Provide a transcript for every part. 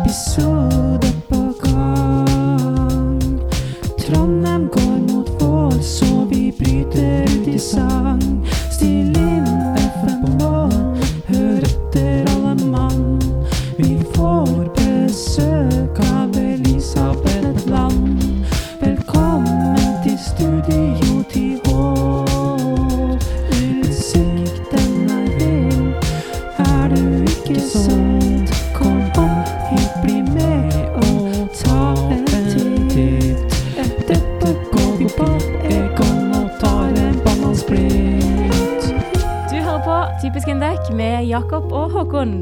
episode på gang. Trondheim går mot vår, så vi bryter ut i sang. Still inn FN-mål, hør etter alle mann. Vi får besøk av Elisabeth Land. Velkommen til studio TH. Utsikten er vill. Er du ikke solgt, kom opp hit, bli med og ta en titt. Dette går vi på, Egon og tar en banansplitt. Du hører på Typisk Indek med Jakob og Håkon.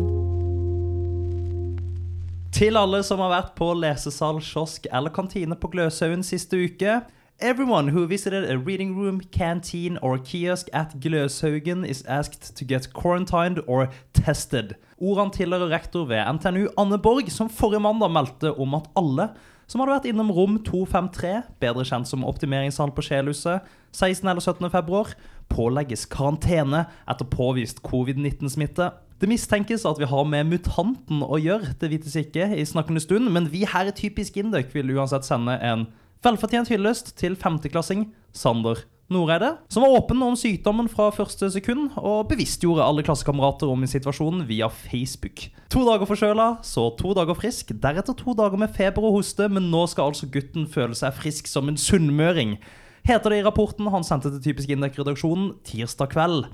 Til alle som har vært på lesesal, kiosk eller kantine på Gløshaugen siste uke. Everyone who visited a reading room, canteen or kiosk at Gløshaugen is asked to get quarantined or tested. Ordene tilhører rektor ved NTNU Anne Borg, som forrige mandag meldte om at alle som hadde vært innom rom 253, bedre kjent som optimeringssal på Skjelhuset, 16. eller 17. februar, pålegges karantene etter påvist covid-19-smitte. Det mistenkes at vi har med mutanten å gjøre, det vites ikke i snakkende stund, men vi her i Typisk Indøk vil uansett sende en velfortjent hyllest til femteklassing Sander Noreide, som var åpen om sykdommen fra første sekund, og bevisstgjorde alle klassekamerater om situasjonen via Facebook. To dager forkjøla, så to dager frisk, deretter to dager med feber og hoste, men nå skal altså gutten føle seg frisk som en sunnmøring, heter det i rapporten han sendte til Typisk Indek-redaksjonen tirsdag kveld.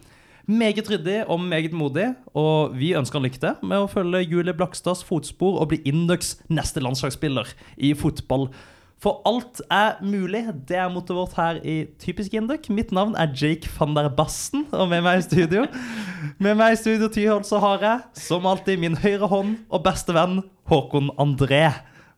Meget ryddig og meget modig, og vi ønsker han lykke til med å følge Julie Blakstads fotspor og bli Indøks neste landslagsspiller i fotball. For alt er mulig. Det er mottoet vårt her i Typisk Induk. Mitt navn er Jake van der Basten, og med meg i studio Med meg i studio Tyholt så har jeg, som alltid, min høyre hånd og beste venn Håkon André.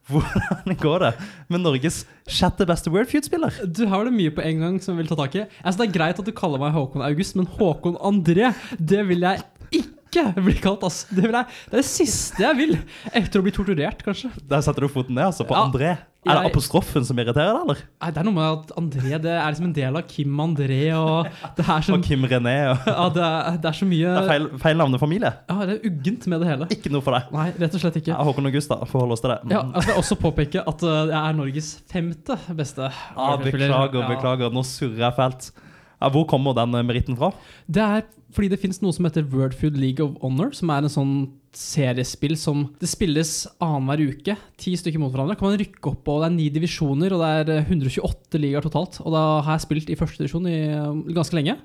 Hvordan går det med Norges sjette beste Wordfeud-spiller? Du, her var det mye på en gang som vi vil ta tak i. Altså, det er greit at du kaller meg Håkon August, men Håkon André, det vil jeg ikke bli kalt, ass. Det, vil jeg, det er det siste jeg vil. Etter å bli torturert, kanskje. Der setter du foten ned, altså, på Ja. André. Er det Jeg- apostrofen som irriterer deg, eller? Nei, det er noe med at André det er liksom en del av Kim André, og det er så, Og Kim René og ja, det er, det er så mye Det er feil, feil navnefamilie. Ja, det er uggent med det hele. Ikke noe for deg. Nei, rett og slett ikke. Ja, Håkon August, da. Forhold oss til det. Mm. Ja, altså, jeg vil også påpeke at uh, jeg er Norges femte beste. Ah, beklager, Ja. beklager. Nå surrer jeg fælt. Ja, hvor kommer den eh, meritten fra? Det er fordi det finnes noe som heter Wordfood League of Honor, som er en sånn seriespill som det spilles annenhver uke. Ti stykker mot hverandre. Kan man rykke opp, og det er ni divisjoner, og det er eh, 128 ligaer totalt. Og da har jeg spilt i første divisjon i eh, ganske lenge.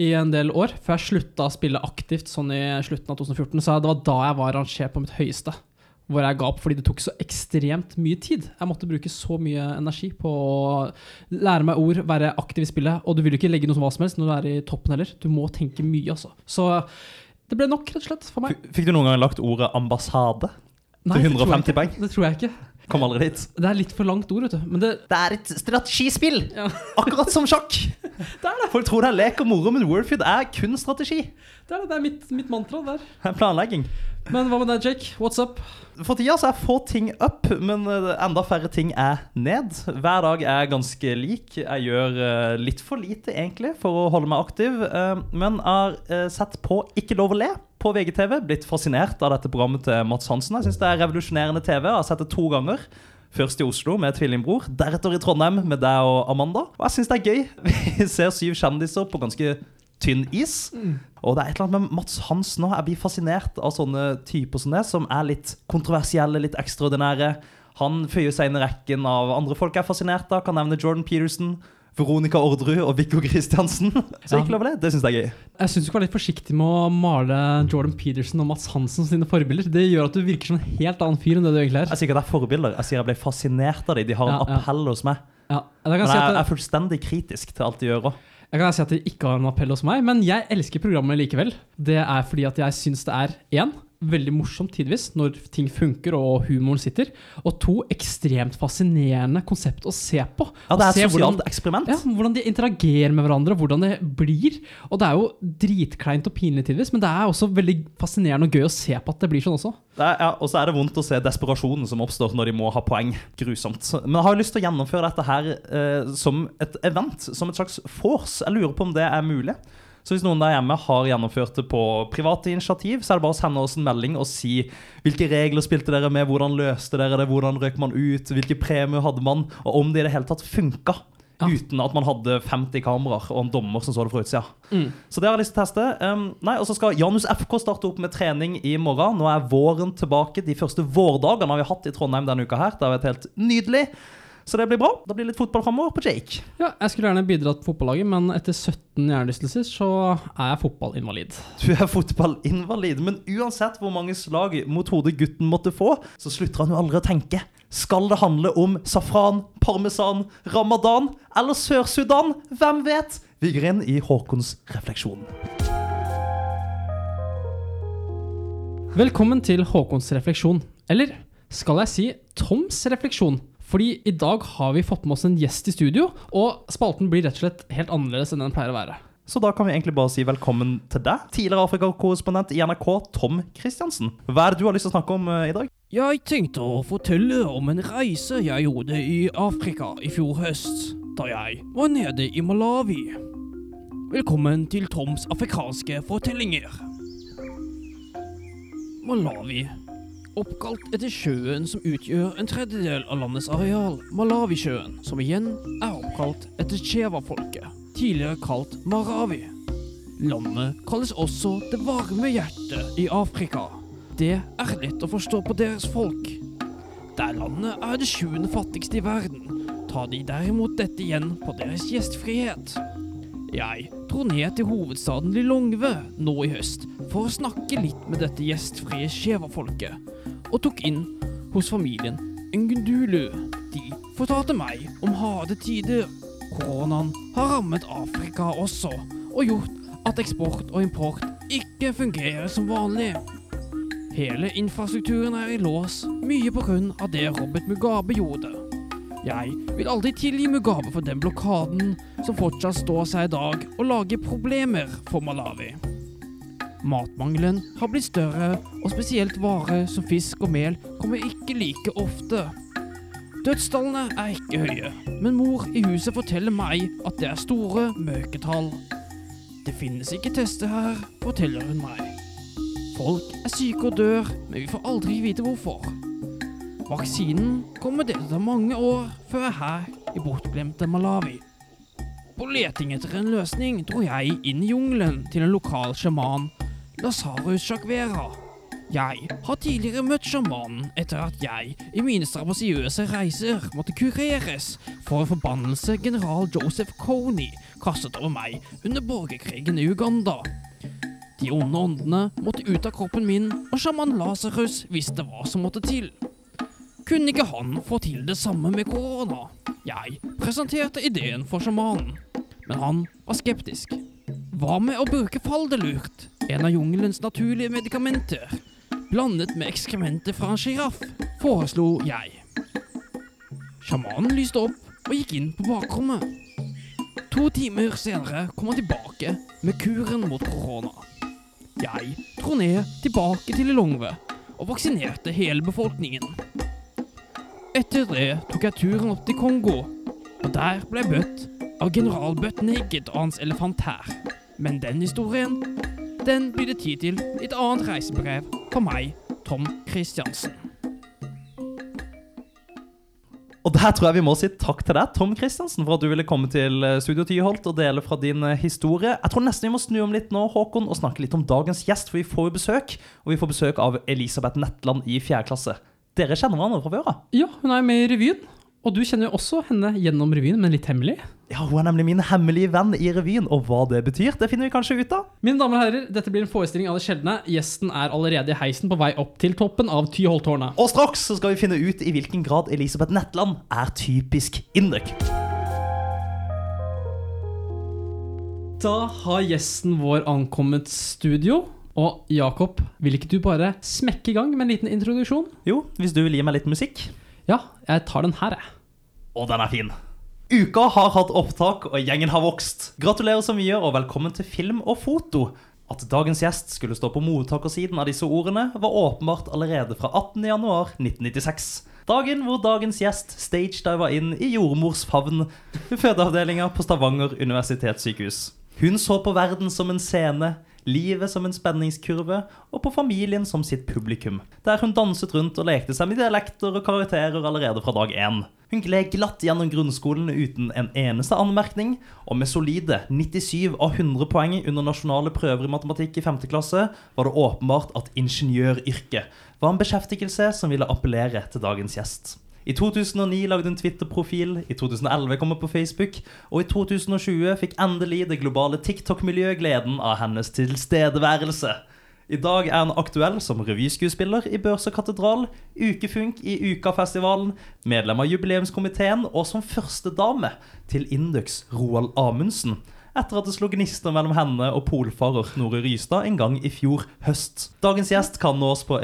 I en del år. Før jeg slutta å spille aktivt sånn i slutten av 2014, så det var da jeg var rangert på mitt høyeste. Hvor jeg ga opp fordi det tok så ekstremt mye tid. Jeg måtte bruke så mye energi på å lære meg ord, være aktiv i spillet. Og du vil jo ikke legge noe som hva som helst når du er i toppen heller. Du må tenke mye, altså. Så det ble nok, rett og slett, for meg. F- Fikk du noen gang lagt ordet 'ambassade'? Nei, det tror jeg 150 ikke. poeng? Det tror jeg ikke. Kom aldri dit. Det er litt for langt ord, vet du. Men det Det er et strategispill! Ja. Akkurat som sjakk. Folk tror det er lek og moro, men Wordfeud er kun strategi. det er, det, det er mitt, mitt mantra der. Det er Planlegging. Men hva med deg, Jake? What's up? For tida så er få ting up, men eh, enda færre ting er ned. Hver dag er ganske lik. Jeg gjør eh, litt for lite, egentlig, for å holde meg aktiv. eh, Men har eh, sett på Ikke lov å le på VGTV. Blitt fascinert av dette programmet til Mats Hansen. Jeg syns det er revolusjonerende TV. Jeg har sett det to ganger. Først i Oslo med tvillingbror, deretter i Trondheim med deg og Amanda. Og jeg syns det er gøy. Vi ser syv kjendiser på ganske tynn is. Mm. Og det er et eller annet med Mats Hansen òg. Jeg blir fascinert av sånne typer som det, som er litt kontroversielle, litt ekstraordinære. Han føyer seg inn i rekken av andre folk jeg er fascinert av. Kan nevne Jordan Peterson, Veronica Orderud og Viggo Kristiansen. Så Ja. ikke lov å le. Det syns jeg er gøy. Jeg syns du skal være litt forsiktig med å male Jordan Peterson og Mats Hansen sine forbilder. Det gjør at du virker som en helt annen fyr enn det du egentlig er. Jeg sier ikke at det er forbilder, jeg sier jeg ble fascinert av dem. De har en Ja, ja. appell hos meg. Ja, da kan Men jeg, si jeg, at jeg er fullstendig kritisk til alt de gjør òg. Jeg kan si at det ikke har en appell hos meg, men jeg elsker programmet likevel. Det er fordi at jeg syns det er én, veldig morsomt tidvis, når ting funker og humoren sitter, og to, ekstremt fascinerende konsept å se på. Ja, det Å er se et sosialt hvordan- eksperiment. ja, hvordan de interagerer med hverandre, hvordan det blir. Og det er jo dritkleint og pinlig tidvis, men det er også veldig fascinerende og gøy å se på at det blir sånn også. Det er, ja, og så er det vondt å se desperasjonen som oppstår når de må ha poeng. Grusomt. Men jeg har jo lyst til å gjennomføre dette her eh, som et event, som et slags force. Jeg lurer på om det er mulig. Så hvis noen der hjemme har gjennomført det på private initiativ, så er det bare å sende oss en melding og si hvilke regler spilte dere med, hvordan løste dere det, hvordan røk man ut, hvilke premier hadde man, og om det i det hele tatt funka. Ja. Uten at man hadde 50 kameraer og en dommer som så det fra utsida. Så det har jeg lyst til å teste. Um, nei, og så skal Janus FK starte opp med trening i morgen. Nå er våren tilbake. De første vårdagene har vi hatt i Trondheim denne uka her. Det har vært helt nydelig. Så det blir bra. Det blir litt fotball framover på Jake. Ja, jeg skulle gjerne bidratt på fotballaget, men etter 17 hjernerystelser så er jeg fotballinvalid. Du er fotballinvalid, men uansett hvor mange slag mot hodet gutten måtte få, så slutter han jo aldri å tenke. Skal det handle om safran, parmesan, ramadan eller Sør-Sudan? Hvem vet? Vi går inn i Håkons refleksjon. Velkommen til Håkons refleksjon. Eller skal jeg si Toms refleksjon? Fordi i dag har vi fått med oss en gjest i studio, og spalten blir rett og slett helt annerledes enn den pleier å være. Så da kan vi egentlig bare si velkommen til deg, tidligere Afrikakorrespondent i NRK, Tom Kristiansen. Hva er det du har lyst til å snakke om eh, i dag? Jeg tenkte å fortelle om en reise jeg gjorde i Afrika i fjor høst, da jeg var nede i Malawi. Velkommen til Toms afrikanske fortellinger. Malawi. Oppkalt etter sjøen som utgjør en tredjedel av landets areal, Malawisjøen, som igjen er oppkalt etter Chewa-folket, tidligere kalt Marawi. Landet kalles også det varme hjertet i Afrika. Det er lett å forstå på deres folk. Der landet er det sjuende fattigste i verden, tar de derimot dette igjen på deres gjestfrihet. Jeg dro ned til hovedstaden Lilongve nå i høst for å snakke litt med dette gjestfrie skjevafolket, og tok inn hos familien Ngundulu. De fortalte meg om harde tider. Koronaen har rammet Afrika også, og gjort at eksport og import ikke fungerer som vanlig. Hele infrastrukturen er i lås, mye på grunn av det Robert Mugabe gjorde. Jeg vil aldri tilgi Mugabe for den blokaden som fortsatt står seg i dag og lager problemer for Malawi. Matmangelen har blitt større, og spesielt varer som fisk og mel kommer ikke like ofte. Dødstallene er ikke høye, men mor i huset forteller meg at det er store mørketall. Det finnes ikke tester her, forteller hun meg. Folk er syke og dør, men vi får aldri vite hvorfor. Vaksinen kommer det til å ta mange år før er her i bortglemte Malawi. På leting etter en løsning dro jeg inn i jungelen til en lokal sjaman, Lasarus Shakvera. Jeg har tidligere møtt sjamanen etter at jeg i mine strabasiøse reiser måtte kureres for en forbannelse general Joseph Kony kastet over meg under borgerkrigen i Uganda. De onde åndene måtte ut av kroppen min, og sjaman Lasarus visste hva som måtte til. Kunne ikke han få til det samme med korona? Jeg presenterte ideen for sjamanen, men han var skeptisk. Hva med å bruke faldelurt, en av jungelens naturlige medikamenter, blandet med ekskrementer fra en sjiraff, foreslo jeg. Sjamanen lyste opp og gikk inn på bakrommet. To timer senere kom han tilbake med kuren mot korona. Jeg dro ned tilbake til Lilongve og vaksinerte hele befolkningen. Etter det tok jeg turen opp til Kongo, og der ble jeg møtt av general Buttnaked og hans elefantær. Men den historien, den blir det tid til i et annet reisebrev for meg, Tom Christiansen. Og der tror jeg vi må si takk til deg, Tom Kristiansen, for at du ville komme til eh, Studio Tyholt og dele fra din eh, historie. Jeg tror nesten vi må snu om litt nå, Håkon, og snakke litt om dagens gjest, for vi får jo besøk. Og vi får besøk av Elisabeth Netland i fjerde klasse. Dere kjenner hverandre fra før av? Ja, hun er jo med i revyen, og du kjenner jo også henne gjennom revyen, men litt hemmelig. Ja, hun er nemlig min hemmelige venn i revyen, og hva det betyr, det finner vi kanskje ut av. Mine damer og herrer, dette blir en forestilling av det sjeldne. Gjesten er allerede i heisen på vei opp til toppen av Tyholttårnet. Og straks så skal vi finne ut i hvilken grad Elisabeth Netland er typisk induk. Da har gjesten vår ankommet studio. Og Jakob, vil ikke du bare smekke i gang med en liten introduksjon? Jo, hvis du vil gi meg litt musikk. Ja, jeg tar den her, jeg. Og den er fin. Uka har hatt opptak, og gjengen har vokst. Gratulerer så mye, og velkommen til film og foto. At dagens gjest skulle stå på mottakersiden av disse ordene, var åpenbart allerede fra 18.1.1996. Dagen hvor dagens gjest stagediva inn i jordmors favn ved fødeavdelinga på Stavanger universitetssykehus. Hun så på verden som en scene, livet som en spenningskurve, og på familien som sitt publikum, der hun danset rundt og lekte seg med dialekter og karakterer allerede fra dag én. Hun gled glatt gjennom grunnskolen uten en eneste anmerkning, og med solide 97 av 100 poeng under nasjonale prøver i matematikk i 5. klasse var det åpenbart at ingeniøryrket var en beskjeftigelse som ville appellere til dagens gjest. I 2009 lagde hun Twitter-profil, i 2011 kom hun på Facebook, og i 2020 fikk endelig det globale TikTok-miljøet gleden av hennes tilstedeværelse. I dag er hun aktuell som revyskuespiller i Børs og Katedral, ukefunk i Ukafestivalen, medlem av jubileumskomiteen og som førstedame til Indux Roald Amundsen, etter at det slo gnister mellom henne og polfarer Nore Rystad en gang i fjor høst. Dagens gjest kan nås på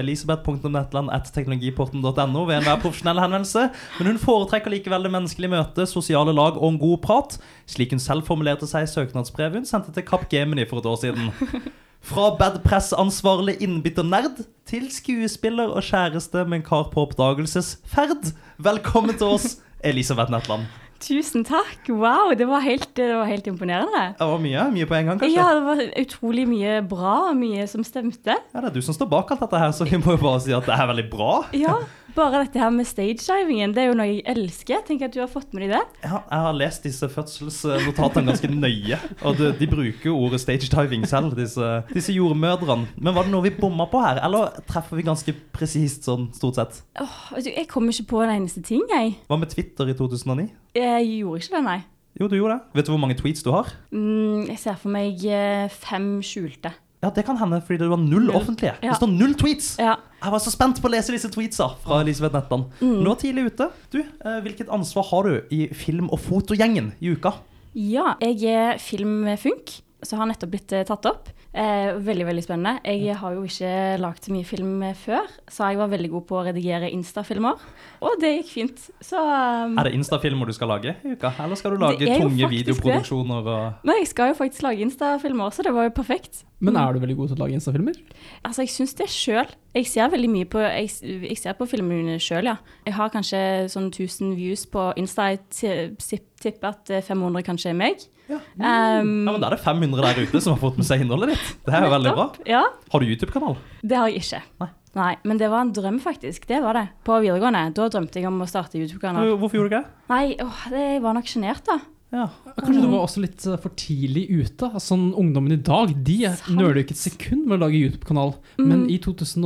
elisabeth.netland.teknologiporten.no ved enhver profesjonell henvendelse, men hun foretrekker likevel det menneskelige møtet, sosiale lag og en god prat, slik hun selv formulerte seg i søknadsbrevet hun sendte til Kapp Gemini for et år siden. Fra badpress-ansvarlig innbytternerd til skuespiller og kjæreste med en kar på oppdagelsesferd. Velkommen til oss, Elisabeth Netland. Tusen takk. Wow, det var helt, det var helt imponerende. Det var mye, mye på en gang, kanskje? Ja, det var utrolig mye bra, mye som stemte. Ja, det er du som står bak alt dette her, så vi må jo bare si at det er veldig bra. Ja, bare dette her med stagedivingen, det er jo noe jeg elsker. Tenk at du har fått med deg det. Ja, jeg har lest disse fødselsnotatene ganske nøye, og de, de bruker jo ordet stagediving selv, disse, disse jordmødrene. Men var det noe vi bomma på her, eller treffer vi ganske presist sånn stort sett? Åh, du, Jeg kommer ikke på en eneste ting, jeg. Hva med Twitter i 2009? Jeg gjorde ikke det, nei. Jo, du gjorde det. Vet du hvor mange tweets du har? Mm, jeg ser for meg eh, fem skjulte. Ja, det kan hende, fordi det var null offentlige. Ja. Det står null tweets! Ja. Jeg var så spent på å lese disse tweetsa fra Elisabeth Netland. Mm. Nå er tidlig ute. Du, eh, hvilket ansvar har du i film- og fotogjengen i uka? Ja, jeg er filmfunk, så har nettopp blitt eh, tatt opp. Eh, veldig, veldig spennende. Jeg har jo ikke lagd så mye film eh, før, så jeg var veldig god på å redigere Insta-filmer. Og det gikk fint. Så um, Er det Insta-filmer du skal lage i uka? Eller skal du lage Det er jo faktisk tunge det. videoproduksjoner? Og... Nei, jeg skal jo faktisk lage Insta-filmer, så det var jo perfekt. Mm. Men er du veldig god til å lage Insta-filmer? Altså, jeg syns det sjøl. Jeg ser veldig mye på Jeg, s- jeg ser på filmene mine sjøl, ja. Jeg har kanskje sånn 1000 views på Insta. Jeg ti- sip- tipper at eh, 500 kanskje er meg. Ja. Um, Ja, men Da er det 500 der ute som har fått med seg innholdet ditt. Det er jo veldig bra. nettopp. Ja. Har du YouTube-kanal? Det har jeg ikke. Nei. Men det var en drøm, faktisk. Det var det. På videregående. Da drømte jeg om å starte YouTube-kanal. Hvorfor gjorde du ikke det? Nei, åh, det jeg var nok sjenert, da. Ja. Kanskje du var også litt eh, for tidlig ute? Altså, sånn ungdommen i dag de nøler jo ikke et sekund med å lage YouTube-kanal. Men Mm, i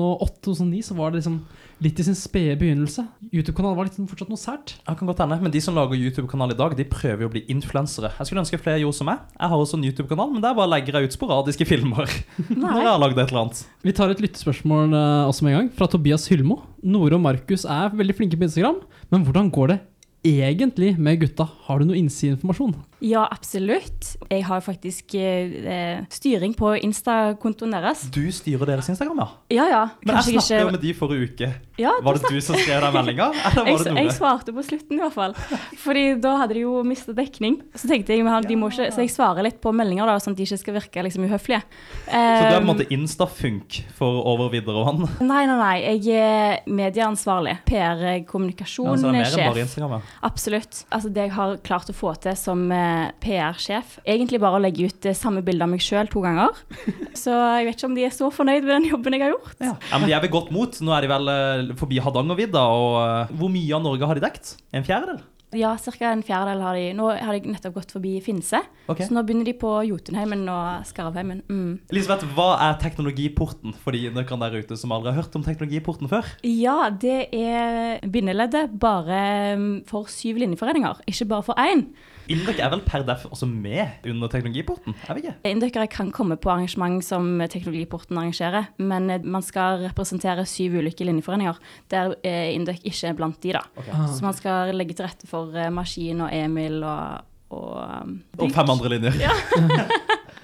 2008-2009 så var det liksom litt i sin spede begynnelse. YouTube-kanal var liksom fortsatt noe sært. Jeg kan godt hende, men De som lager YouTube-kanal i dag, de prøver jo å bli influensere. Jeg skulle ønske flere gjorde som meg. Jeg har også en YouTube-kanal, men der bare legger jeg ut sporadiske filmer. Når jeg Nei. har laget et eller annet. Vi tar et lyttespørsmål eh, også med en gang, fra Tobias Hylmo. Nore og Markus er veldig flinke på Instagram, men hvordan går det egentlig med gutta? Har du noe innsideinformasjon? Ja, absolutt. Jeg har faktisk eh, eh, styring på Insta-kontoen deres. Du styrer deres Instagram, ja? Ja, ja. Men jeg Kanskje jeg snakket jo ikke med de forrige uke. ja, Var det du som skrev den meldinga, eller jeg, var det jeg Nore? svarte på slutten, i hvert fall. Fordi da hadde de jo mista dekning. Så tenkte jeg, men han, de må ikke, så jeg svarer litt på meldinger, da, sånn at de ikke skal virke liksom, uhøflige. Så du er på en Um, måte Insta-funk for Over Viddervann? Nei, nei, nei. Jeg er medieansvarlig. Ja, PR-kommunikasjon, så det er mer enn sjef. bare Instagram, ja. Absolutt. Altså Det jeg har klart å få til som eh, PR-sjef, egentlig bare å legge ut det samme bilde av meg sjøl to ganger. Så jeg vet ikke om de er så fornøyd med den jobben jeg har gjort. Ja. men De er ved godt mot. Nå er de vel eh, forbi Hardangervidda. Og eh, hvor mye av Norge har de dekt? En fjerdedel? Ja, ca. en fjerdedel har de. Nå har de nettopp gått forbi Finse, Ok. så nå begynner de på Jotunheimen og Skarvheimen. Mm. Elisabeth, hva er teknologiporten for de nøkkerne der ute som aldri har hørt om teknologiporten før? Ja, det er bindeleddet bare mm, for syv linjeforeninger, ikke bare for én. Indok er vel per def også med under teknologiporten? Er vi ikke? Inndøkkere kan komme på arrangement som Teknologiporten arrangerer, men eh, man skal representere syv ulike linjeforeninger, der eh, inndøkk ikke er blant de, da. Ah, Så man skal legge til rette for eh, Maskin og Emil og, og um, Og fem andre linjer.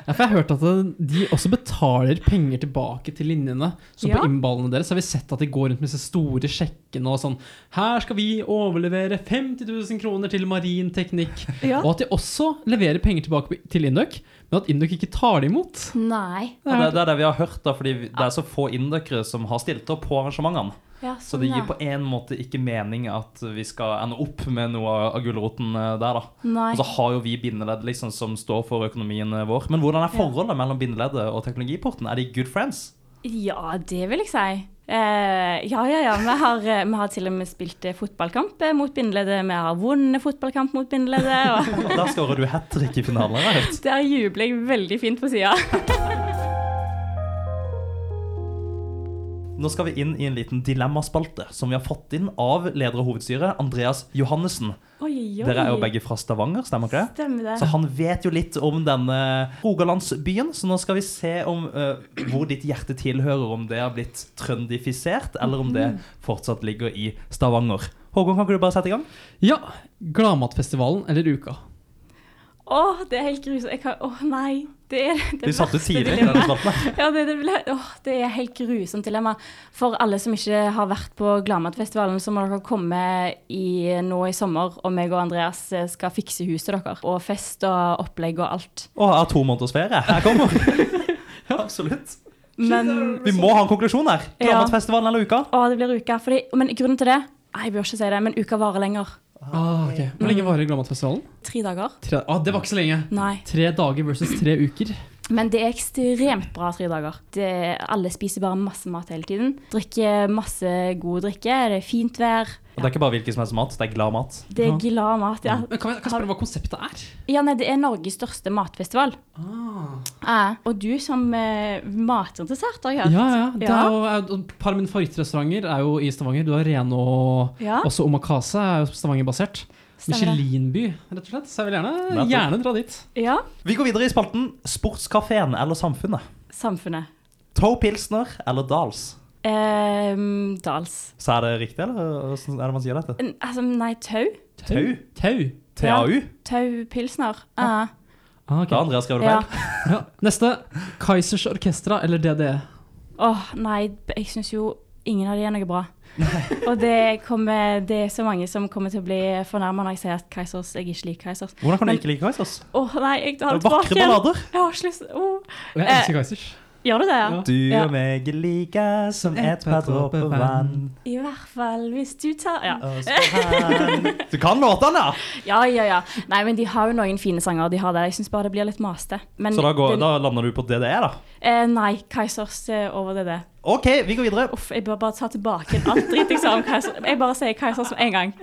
Ja, for jeg har hørt at eh, de også betaler penger tilbake til linjene. Så Ja. på innballene deres har vi sett at de går rundt med disse store sjekkene og sånn Her skal vi overlevere 50 000 kroner til marin teknikk. Ja. Og at de også leverer penger tilbake til Induk, men at Induk ikke tar det imot. Nei. Ja, det, det er det vi har hørt, da, fordi det er så få indokere som har stilt opp på arrangementene. Ja, Så det sånn, gir ja. på en måte ikke mening at vi skal ende opp med noe av- av gulroten eh, der, da. Nei. Og så har jo vi bindeledd liksom, som står for økonomien eh, vår. Men hvordan er Ja. forholdet mellom bindeleddet og teknologiporten? Er de good friends? Ja, det vil jeg si. Eh, ja, ja, ja. Vi har, eh, vi har til og med spilt eh, fotballkamp eh, mot bindeleddet. Vi har vunnet fotballkamp mot bindeleddet. Og Der skårer du hat trick i finalen. har jeg hørt. der jubler jeg veldig fint på sida. Nå skal vi inn i en liten dilemmaspalte som vi har fått inn av leder av hovedstyret, Andreas Johannessen. Oi, oi. Dere er jo begge fra Stavanger, stemmer ikke det? Stemmer det. Så han vet jo litt om denne Rogalandsbyen, så nå skal vi se om eh, hvor ditt hjerte tilhører, om det har blitt trøndifisert, eller Mhm. om det fortsatt ligger i Stavanger. Håkon, kan ikke du bare sette i gang? Ja, Gladmatfestivalen eller Uka. Å, det er helt grusomt. Jeg kan, å nei. Det er det Du satt jo verste tidlig i dilemmaet. denne spalten. Ja, det, det, ble, åh, det er helt grusomt dilemma. For alle som ikke har vært på Gladmatfestivalen, så må dere komme i, nå i sommer, og meg og Andreas eh, skal fikse huset deres. Og fest og opplegg og alt. Å, jeg har to måneders ferie. Her kommer Ja, absolutt. Men Vi må ha en konklusjon her. Ja. Gladmatfestivalen eller uka? å, det blir uka. Fordi, men grunnen til det Nei, jeg bør ikke si det, men uka varer lenger. Ah, ok. Mm. Hvor lenge varer Gladmatfestivalen? Tre dager. Tre... Ah, det var ikke så lenge. Nei. Tre dager versus tre uker. Men det er ekstremt bra tre dager. Det, alle spiser bare masse mat hele tiden. Drikker masse god drikke. Det er fint vær. Og det er ikke bare hvilken som helst mat, det er glad mat. Det er glad mat, ja. Men kan jeg, kan jeg spørre hva konseptet er? Ja, nei, det er Norges største matfestival. Eh, og du som eh, matinteressert, har jeg hørt. Ja, ja. Det er jo, er jo- et par av mine favorittrestauranter er jo i Stavanger. Du har Rene og Ja. også Omakase er jo Stavanger-basert. Stemmer det. Michelinby, rett og slett. Så jeg vil gjerne, Nettopp. gjerne dra dit. Ja, Vi går videre i spalten Sportskafeen eller Samfunnet. samfunnet. Toe Pilsner eller Dals? Ehm, Dals. Så er det riktig, eller hvordan er det man sier dette? N- Altså, nei, Tau. Tau? Tau. TAU? Tau Pilsner. Eh, Ah, ok. Da har Andreas skrevet det ja. feil. ja. Neste. Kaizers Orkestra eller E? DDE? Åh, nei, b- jeg syns jo ingen av de er noe bra. og det, kommer, det er så mange som kommer til å bli fornærma når jeg sier at Keisers, jeg ikke liker Keisers. Åh, Hvordan kan du Men- ikke like Kaizers? nei, jeg tar Det det er vakre tilbake. igjen. ballader. Jeg har ikke lyst åh. Og Eh, jeg elsker Kaizers. Gjør du det? Ja. Du Ja. og meg er like som et par dråper vann. I hvert fall hvis du tar Ja. og spann. Du kan låtene, Ja, ja! ja, ja. Nei, men de har jo noen fine sanger. de har det. Jeg syns bare det blir litt maste. Men Så da, går, den- da lander du på DDE, da. eh, nei, Keisers eh, over det det. OK, vi går videre. Uff, jeg bør bare ta tilbake alt dritt jeg sa om Keisers. Jeg bare sier Keisers med en gang.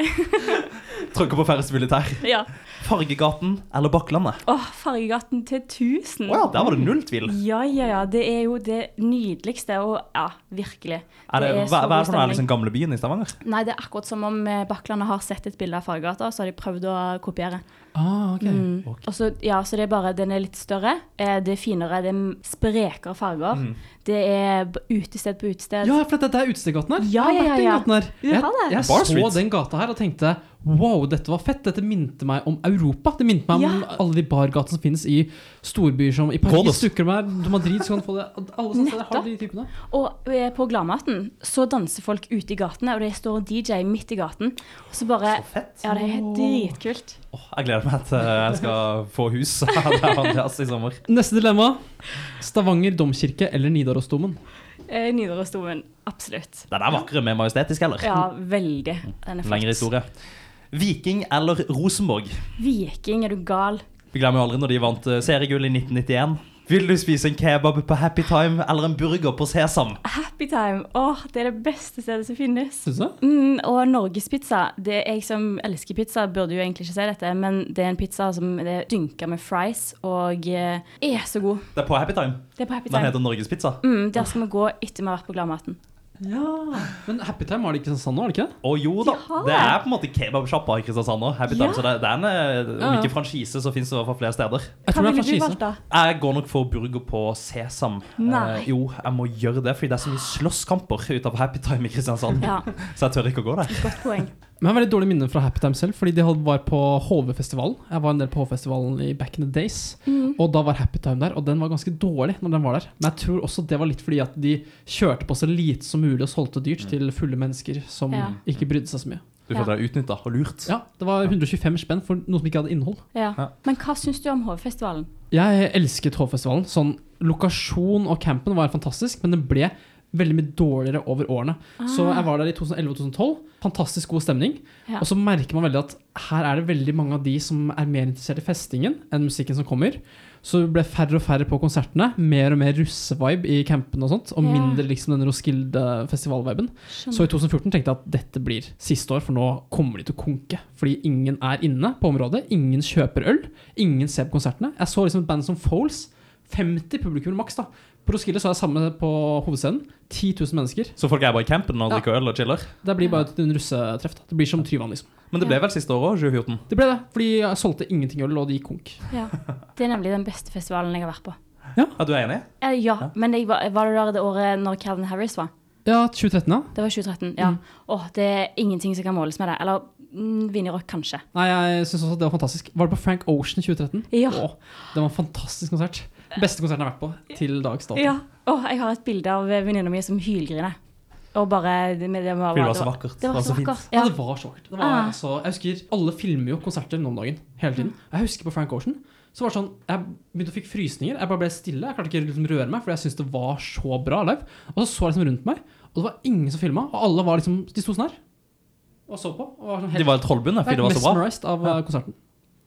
Trykker på færrest mulig her. ja. Fargegaten eller Bakklandet? Åh, Fargegaten til 1000. Å ja, der var det null tvil. Ja, ja, ja. Det er jo det nydeligste, og ja, virkelig. Er det, Det er hva, så hva god er det som er stemning. liksom gamlebyen i Stavanger? Nei, det er akkurat som om eh, Bakklandet har sett et bilde av Fargegata, og så har de prøvd å kopiere. Ah, ok. Mm. Og så- ja, så det er bare, den er litt større, eh, det er finere, det er sprekere farger. Mm. Det er b- utested på utested. Ja, for dette er utestegaten her. Ja, Jeg har ja, vært i ja. gaten her. Du har det. Jeg, jeg Bar så Street. den gata her og tenkte wow, dette var fett. Dette minte meg om Europa. Det minte meg om Ja. alle de bargatene som finnes i storbyer som i Paris. Kådos. Dukker med Madrid, så kan du få det. Alle sånne steder har de Nettopp. typene. Og eh, på Gladmaten så danser folk ute i gatene, og det står en DJ midt i gaten. Og så bare Så fett. Ja, det er helt dritkult. Åh, jeg gleder meg til eh, jeg skal få hus av Andreas i sommer. Neste dilemma. Stavanger domkirke eller Nidarosdomen? Eh, Nidarosdomen. Absolutt. Den er vakre med majestetisk, eller? Ja, veldig. Den er Lengre flott. historie. Viking eller Rosenborg? Viking, er du gal? Vi glemmer jo aldri når de vant eh, seriegull i 1991. Vil du spise en kebab på Happy Time eller en burger på Sesam? Happy Time. Åh, det er det beste stedet som finnes. Syns du? Mm, og norgespizza. Det er jeg som elsker pizza, burde jo egentlig ikke si dette, men det er en pizza som det er dynka med fries og eh, er så god. Det er på Happy Time. Det er på Happy Den Time. heter Norgespizza. Mm, der skal vi gå etter vi har vært på Gladmaten. Ja. Men Happy Time var det ikke sånn sann nå, var det ikke? det? Og jo da, De har det det. er på en måte kebabsjappa i Kristiansand òg. Happy Ja. Time. Så det, det er en, eh, om Ja, ja. ikke franchise, så fins det i hvert fall flere steder. Jeg Hva tror det er ville du franchise. valgt, da? Jeg går nok for burger på Sesam. Eh, Nei. jo, jeg må gjøre det, fordi det er så mye slåsskamper utenfor Happy Time i Kristiansand. Ja, Så jeg tør ikke å gå der. godt poeng. Men jeg har veldig dårlig minne fra Happy Time selv, fordi de hadde- var på HV-festivalen. Jeg var en del på HV-festivalen i back in the days, Mm. og da var Happy Time der, og den var ganske dårlig når den var der. Men jeg tror også det var litt fordi at de kjørte på så lite som mulig og solgte dyrt til fulle mennesker som Ja. ikke brydde seg så mye. Du føler deg utnytta og lurt. Ja, det var 125 spenn for noe som ikke hadde innhold. Ja. Ja. Men hva syns du om HV-festivalen? Jeg elsket HV-festivalen. Sånn lokasjon og campen var fantastisk, men det ble veldig mye dårligere over årene. Så jeg var der i 2011-2012. Fantastisk god stemning. Ah. Ja. Og så merker man veldig at her er det veldig mange av de som er mer interessert i festingen enn musikken som kommer. Så det ble færre og færre på konsertene. Mer og mer russevibe i campene og sånt. Og Ja. Mm. mindre liksom den Roskilde-festivalviben. Ah, Så i 2014 tenkte jeg at dette blir siste år, for nå kommer de til å konke. Fordi ingen er inne på området, ingen kjøper øl, ingen ser på konsertene. Jeg så liksom et band som Foles. 50 publikum maks, da. På Roskilde så er det samme på hovedscenen. 10 000 mennesker. Så folk er bare i campen og Ja. drikker øl og chiller? Det blir bare en russetreff. da. Det blir som Tryvann, liksom. Men det ble vel siste år òg, 2014? Det ble det, fordi jeg solgte ingenting øl, og det gikk konk. Ja. Det er nemlig den beste festivalen jeg har vært på. Ja, du er enig? Eh, ja, men jeg var, var det der det året når Calvin Harris var? Ja, 2013, ja. Det var 2013, Mm. ja. Åh, det er ingenting som kan måles med det. Eller mm, Vinjerock, kanskje. Nei, jeg syns også at det var fantastisk. Var det på Frank Ocean i 2013? Ja. Åh, det var en fantastisk konsert. Beste konserten jeg har vært på til dags dato. Ja. Åh, jeg har et bilde av venninna mi som hylgriner. Og bare det- men det var, Fordi det var så vakkert. Det var så fint. vakkert. Ja. Ja. det var så vakkert. Det var, Ah. Mm. altså, jeg husker, Alle filmer jo konserter nå om dagen. Hele tiden. Jeg husker på Frank Ocean. Så var det sånn, Jeg begynte å fikk frysninger. Jeg bare ble stille. Jeg klarte ikke å liksom røre meg, fordi jeg syntes det var så bra live. Og så så jeg liksom rundt meg, og det var ingen som filma. Og alle var liksom, de sto sånn her og så på. Og var sånn De helt var helt trollbundne fordi det var så bra. mesmerized av eh, konserten.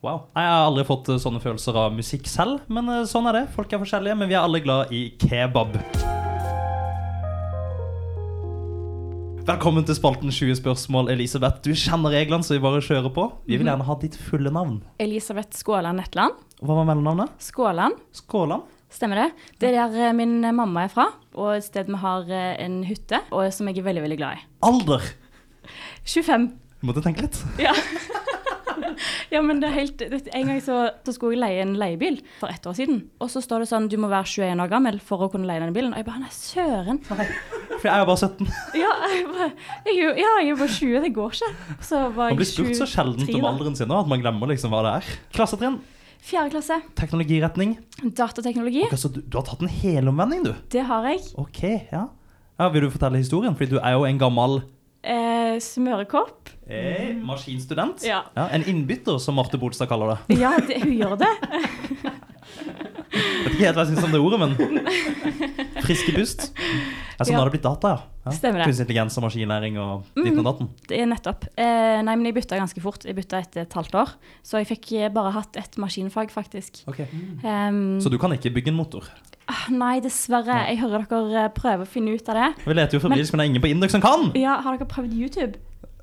Wow. Jeg har aldri fått eh, sånne følelser av musikk selv, men eh, sånn er det. Folk er forskjellige, men vi er alle glad i kebab. Velkommen til spalten 20 spørsmål, Elisabeth. Du kjenner reglene, så vi bare kjører på. Vi vil gjerne ha ditt fulle navn. Elisabeth Skåland Netland. Hva var mellomnavnet? Skåland, Skåland? stemmer det? Det er der eh, min mamma er fra, og et sted vi har eh, en hytte, og som jeg er veldig, veldig glad i. Alder? 25. Du måtte tenke litt. Ja, men det er helt, vet, du, En gang så, så skulle jeg leie en leiebil for ett år siden. Og så står det sånn du må være 21 år gammel for å kunne leie denne bilen. Og jeg bare nei, søren. For jeg er jo bare 17. Ja, jeg, bare, jeg, er jo- ja, jeg er bare 20, det går ikke. Så var Man jeg blir spurt så 23 sjeldent om da. alderen sin nå, at man glemmer liksom hva det er. Klassetrinn? Fjerde klasse, Teknologiretning? datateknologi. Altså, du, du har tatt en helomvending, du. Det har jeg. Ok, ja. ja. Vil du fortelle historien? Fordi du er jo en gammel Eh, smørekopp. eh, maskinstudent. Mm. Ja. En innbytter, som Marte Bolstad kaller det. Ja, det, hun gjør det. Vet ikke helt hva jeg syns om det ordet, men Friske pust. Ja, sånn Ja. har det blitt data, ja. ja. Stemmer det. Mm. Kunstig intelligens og maskinlæring og ditten og datten. Det er nettopp. Eh, nei, men jeg bytta ganske fort. Jeg bytta etter et halvt år. Så jeg fikk eh, bare hatt ett maskinfag, faktisk. Ehm, Så du kan ikke bygge en motor? ah, nei, dessverre. Jeg hører dere eh, prøve å finne ut av det. Vi leter jo fremdeles, men det er ingen på Induk som kan! Ja, har dere prøvd YouTube?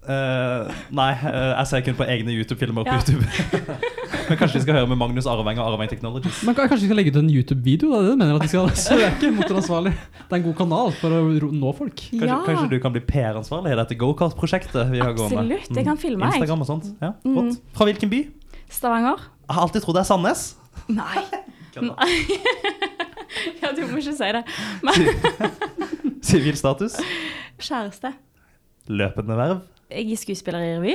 Eh, nei, eh, jeg ser kun på egne YouTube-filmer på Ja. YouTube. men kanskje vi skal høre med Magnus Arveng og Arveng Technologies. Men kan- kanskje vi skal legge ut en YouTube-video? da? Det er det du mener at vi skal søke motoransvarlig? Det er en god kanal for å ro- nå folk. Kanskje, kanskje du kan bli PR-ansvarlig i dette gokart-prosjektet vi har gående? Mm. Absolutt, jeg kan filme, Mm. jeg. Instagram og sånt. Ja, godt. Fra hvilken by? Stavanger? Jeg har alltid trodd det er Sandnes. Nei. Kødda. Ja, du må ikke si det. Sivil status. Kjæreste. Løpende verv. Jeg er skuespiller i revy.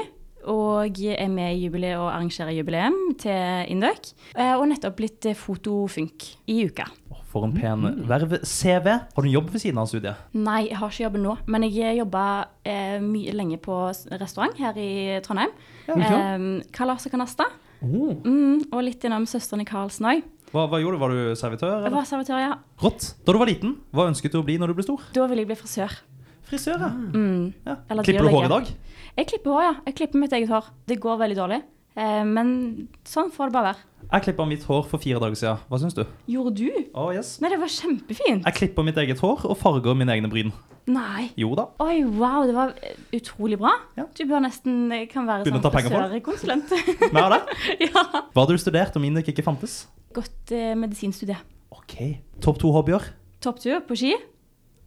Og er med i jubileet og arrangerer jubileum til Indøk. Eh, Og nettopp blitt eh, fotofunk i uka. Å, For en pen verv-CV. Har du en jobb ved siden av studiet? Nei, jeg har ikke jobben nå, men jeg jobba eh, mye lenge på s- restaurant her i Trondheim. Eh, Kalas og Kanasta. Oh. Mm, og litt innom søstrene Karlsen òg. Hva, hva gjorde du? Var du servitør? Jeg Eller? var servitør, ja. Rått. Da du var liten, hva ønsket du å bli når du ble stor? Da ville jeg bli frisør. Frisør, ja. ja. Mm. Eller Klipper du hår i dyrlege. dag? Jeg klipper hår, ja. Jeg klipper mitt eget hår. Det går veldig dårlig. Eh, men sånn får det bare være. Jeg klippa mitt hår for fire dager siden. Hva syns du? Gjorde du? Å, yes. Nei, det var kjempefint. Jeg klipper mitt eget hår og farger mine egne bryn. Nei. Jo da. Oi, wow, det var eh, utrolig bra. Ja. Du bør nesten eh, kan være Begynne sånn å ta penger for frisørkonsulent. Mer av det. ja. Hva hadde du studert om Induk ikke fantes? Godt eh, medisinstudie. OK. Topp to hobbyer? Topptur på ski.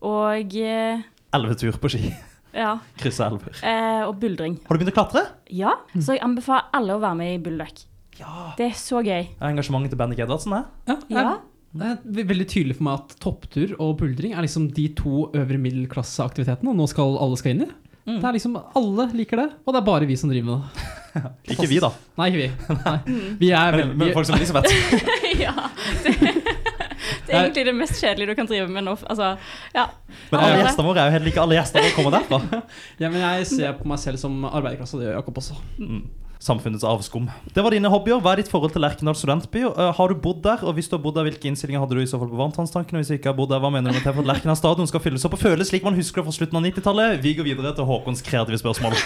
Og eh, Elvetur på ski. ja, Krysse elver. eh, og buldring. Har du begynt å klatre? Ja, Mm. så jeg anbefaler alle å være med i Bulldog. Ja. Det er så gøy. Engasjementet til Bendik Edvardsen, det? Ja, jeg- Ja. Det er ve- veldig tydelig for meg at topptur og buldring er liksom de to øvre middelklasseaktivitetene, og nå skal alle skal inn i. Det er liksom, Alle liker det, og det er bare vi som driver med det. Ikke vi, da. Nei, ikke vi. Nei. Vi er Men, men veldig folk som Elisabeth. ja, det, det er egentlig det mest kjedelige du kan drive med nå. Altså, ja. Ja, det Men alle er det. gjestene våre er jo helt like alle gjestene våre kommer derfra. ja, men Jeg ser på meg selv som arbeiderklasse, og det gjør Jakob også. Mm. samfunnets avskum. Det var dine hobbyer. Hva er ditt forhold til Lerkendal studentby? Eh, har du bodd der? Og hvis du har bodd der, hvilke innstillinger hadde du i så fall på varmtvannstanken? Og hvis du ikke har bodd der, hva mener du med det for at Lerkendal stadion skal fylles opp og føles slik man husker det fra slutten av 90-tallet? Vi går videre til Håkons kreative spørsmål.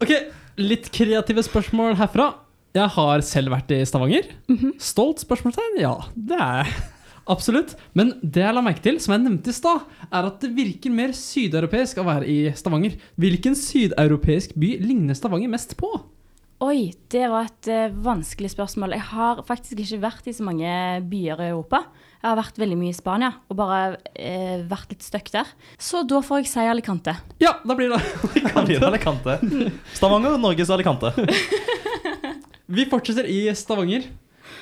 Ok, litt kreative spørsmål herfra. Jeg har selv vært i Stavanger. Stolt spørsmålstegn? Ja, det er jeg. Absolutt. Men det jeg la merke til, som jeg nevnte i stad, er at det virker mer sydeuropeisk å være i Stavanger. Hvilken sydeuropeisk by ligner Stavanger mest på? Oi, det var et eh, vanskelig spørsmål. Jeg har faktisk ikke vært i så mange byer i Europa. Jeg har vært veldig mye i Spania og bare eh, vært litt stuck der. Så da får jeg si Alicante. Ja, da blir det Kan vi gjøre Alicante? Stavanger, Norges Alicante. Vi fortsetter i Stavanger.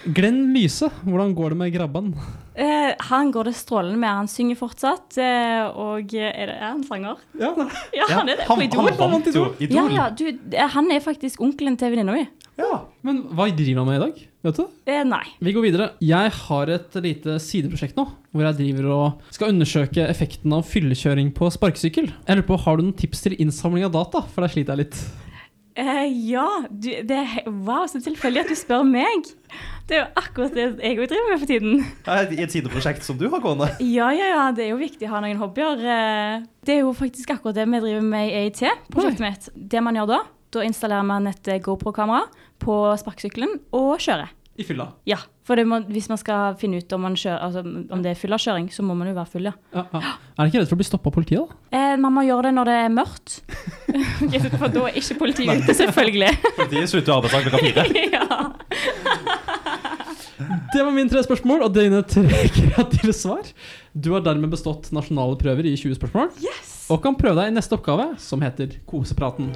Glenn Lyse, hvordan går det med grabban? Eh, han går det strålende med. Han synger fortsatt. Eh, og eh, er, det, er han sanger? Ja, da. Ja, han er det. han, På Idol. han vant jo Ja, Idol. ja, du, eh, han er faktisk onkelen til venninna mi. Ja. Men hva driver han med i dag? Vet du? det? Eh, nei. Vi går videre. Jeg har et lite sideprosjekt nå, hvor jeg driver og skal undersøke effekten av fyllekjøring på sparkesykkel. Jeg lurer på, Har du noen tips til innsamling av data? For der sliter jeg litt. Eh, ja, du, det er he- Wow, så tilfeldig at du spør meg. Det er jo akkurat det jeg òg driver med for tiden. I et sideprosjekt som du har gående. Ja, ja, ja, det er jo viktig å ha noen hobbyer. eh. Det er jo faktisk akkurat det vi driver med i EIT, prosjektet mitt. Det man gjør da, da installerer man et eh, GoPro-kamera på sparkesykkelen og kjører. I fylla. Ja, for det må, hvis man skal finne ut om, man kjører, altså, om det er full av kjøring, så må man jo være full, ja. Ja, ja. Er du ikke redd for å bli stoppa av politiet, da? Eh, man må gjøre det når det er mørkt. Ok, så- for da er ikke politiet ute, selvfølgelig. De slutter jo arbeidsdag klokka fire. ja. Det var mine tre spørsmål, og dine tre kreative svar. Du har dermed bestått nasjonale prøver i 20 spørsmål. Og kan prøve deg i neste oppgave, som heter Kosepraten.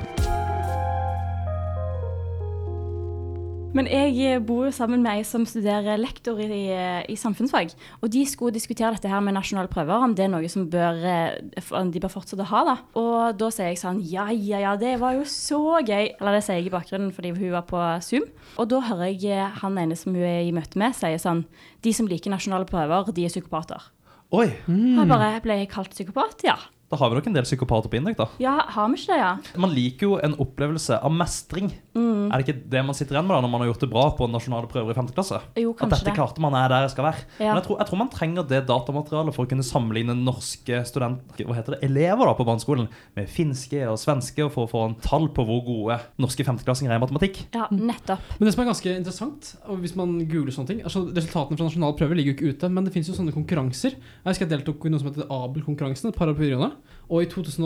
Men jeg eh, bor jo sammen med ei som studerer lektor i, eh, i samfunnsfag. Og de skulle diskutere dette her med nasjonale prøver, om det er noe som bør, eh, om de bør fortsette å ha. da. Og da sier jeg sånn ja, ja, ja, det var jo så gøy. Eller det sier jeg i bakgrunnen fordi hun var på Zoom. Og da hører jeg eh, han ene som hun er i møte med, sier sånn de som liker nasjonale prøver, de er psykopater. Oi, Mm. Og jeg bare ble jeg kalt psykopat, ja. da har vi nok en del psykopater på Indøk, da. Ja, har vi ikke det, ja? Man liker jo en opplevelse av mestring. Mm. Er det ikke det man sitter igjen med da når man har gjort det bra på nasjonale prøver i 5. klasse? Jo, At kanskje dette det. klarte man er der jeg skal være. Ja. Men jeg tror, jeg tror man trenger det datamaterialet for å kunne sammenligne norske student, hva heter det, elever da på barneskolen med finske og svenske, og for å få en tall på hvor gode norske femteklassinger er i matematikk. Ja, nettopp. Men det som er ganske interessant, og hvis man googler sånne ting altså Resultatene fra nasjonale prøver ligger jo ikke ute, men det fins jo sånne konkurranser. Jeg husker jeg deltok i noe som heter Abel-konkurransen et par år på videregående. Og i 2012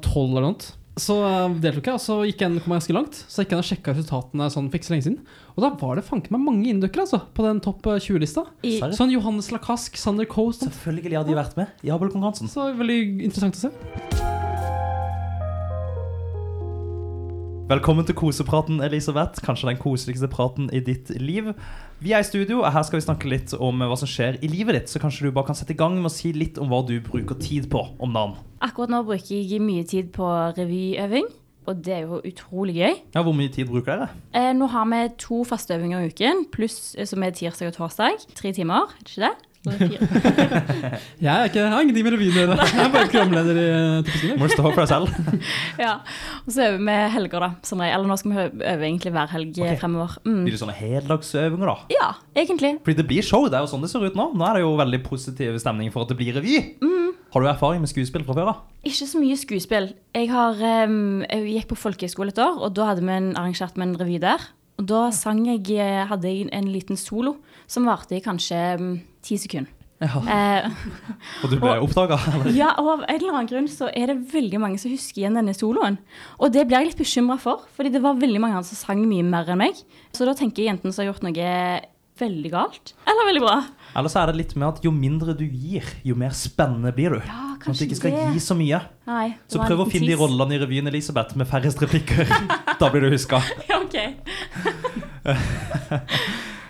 eller noe sånt, så eh, deltok jeg, og så gikk jeg, kom jeg ganske langt. Så jeg gikk jeg inn og sjekka resultatene sånn for ikke så lenge siden. Og da var det fanken meg mange indøkere altså, på den topp eh, 20-lista. I, Serr? Sånn Johannes Lacasse, Sander Coast Selvfølgelig har de vært med i Abel-konkurransen. Så veldig interessant å se. Velkommen til kosepraten, Elisabeth. Kanskje den koseligste praten i ditt liv. Vi er i studio, og her skal vi snakke litt om hva som skjer i livet ditt. Så kanskje du bare kan sette i gang med å si litt om hva du bruker tid på om dagen. akkurat nå bruker jeg mye tid på revyøving, og det er jo utrolig gøy. Ja, Hvor mye tid bruker dere? Eh, nå har vi to faste øvinger i uken, pluss eh, som er tirsdag og torsdag. Tre timer, er det ikke det? Så er det fire. Jeg er ikke jeg har ingenting med revyen å gjøre. Jeg er bare programleder i eh, Typisk Indøk. Må du stå for deg selv? ja. Og så øver vi helger, da. Som regel. Eller nå skal vi øve øve egentlig hver helg eh, Ok. fremover. Mm. Blir det sånne heldagsøvinger, da? Ja, egentlig. Fordi det blir show, det er jo sånn det ser ut nå. Nå er det jo veldig positiv stemning for at det blir revy. Mm. Har du erfaring med skuespill fra før, da? Ikke så mye skuespill. Jeg, har, em, jeg gikk på folkehøyskole et år, og da hadde vi en, arrangert med en revy der. Og da sang jeg, eh, hadde jeg en liten solo som varte i kanskje em, ti sekunder. Eh, Og du ble oppdaga? ja, og av en eller annen grunn så er det veldig mange som husker igjen denne soloen. Og det blir jeg litt bekymra for, fordi det var veldig mange andre som sang mye mer enn meg. Så da tenker jeg enten så har jeg gjort noe veldig galt, eller veldig bra. Eller så er det litt med at jo mindre du gir, jo mer spennende blir du. Ja, Sånn at du kanskje ikke skal det. gi så mye. Nei, det Så var en prøv å liten finne de tease. rollene i revyen Elisabeth med færrest replikker. da blir du huska. Ja, ok.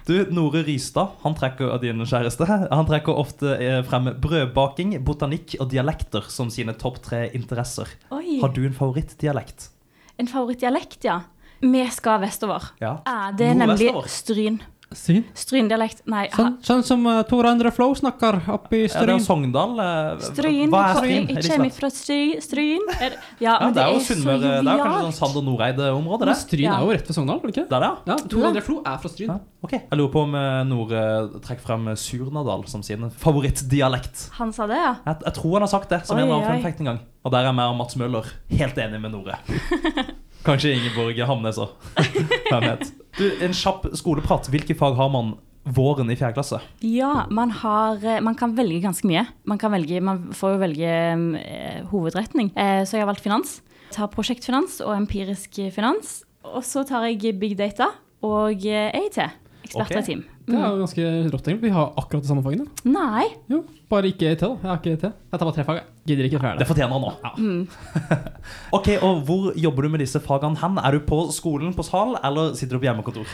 Du, Nore Rystad, han trekker av din kjæreste. Han trekker ofte eh, frem brødbaking, botanikk og dialekter som sine topp tre interesser. Oi. Har du en favorittdialekt? En favorittdialekt, ja. Vi skal vestover. Ja. Ja, det er nemlig Nordvestover. Stryn. Stryn? Stryndialekt Nei, ha, Sånn, sånn som uh, Tor Endre Flo snakker oppe i Er det Stryn. Sogndal? eh, Stryn Hva er sorry, Jeg Stryn? Elisabeth? kommer fra Stry- Stryn. Er- Ja, Ja, men det er jo så Sunnmøre Det er jo kanskje jovialt. sånn Sand- og Noreide-området, Men det. Stryn Ja. er jo rett ved Sogndal, er det ikke? Der, ja. Ja, Tor Endre Flo er fra Stryn. Ja, Ok. Jeg lurer på om eh, Nord eh, trekker frem eh, Surnadal som sin favorittdialekt. Han sa det, ja. Jeg, jeg tror han har sagt det som en Oi, eller annen oi. fun fact en gang. Og der er meg og Mats Møller helt enig med Nore. Kanskje Ingeborg Hamnes òg. Hvem vet. Du, en kjapp skoleprat. Hvilke fag har man våren i fjerde klasse? Ja, man, har, eh, man kan velge ganske mye. Man, kan velge, man får jo velge eh, hovedretning. Eh, så jeg har valgt finans. Jeg tar prosjektfinans og empirisk finans. Og så tar jeg big data og eh, EIT. Eksperter i Ok. team. Det er jo ganske rått, egentlig. Vi har akkurat de samme fagene. Mm. Nei. Jo, bare ikke EIT, da. Jeg har ikke EIT. Jeg tar bare tre fag, jeg. Gidder ikke flere. Det fortjener han nå. Mm. ok, og Hvor jobber du med disse fagene hen? Er du på skolen på sal, eller sitter du på hjemmekontor?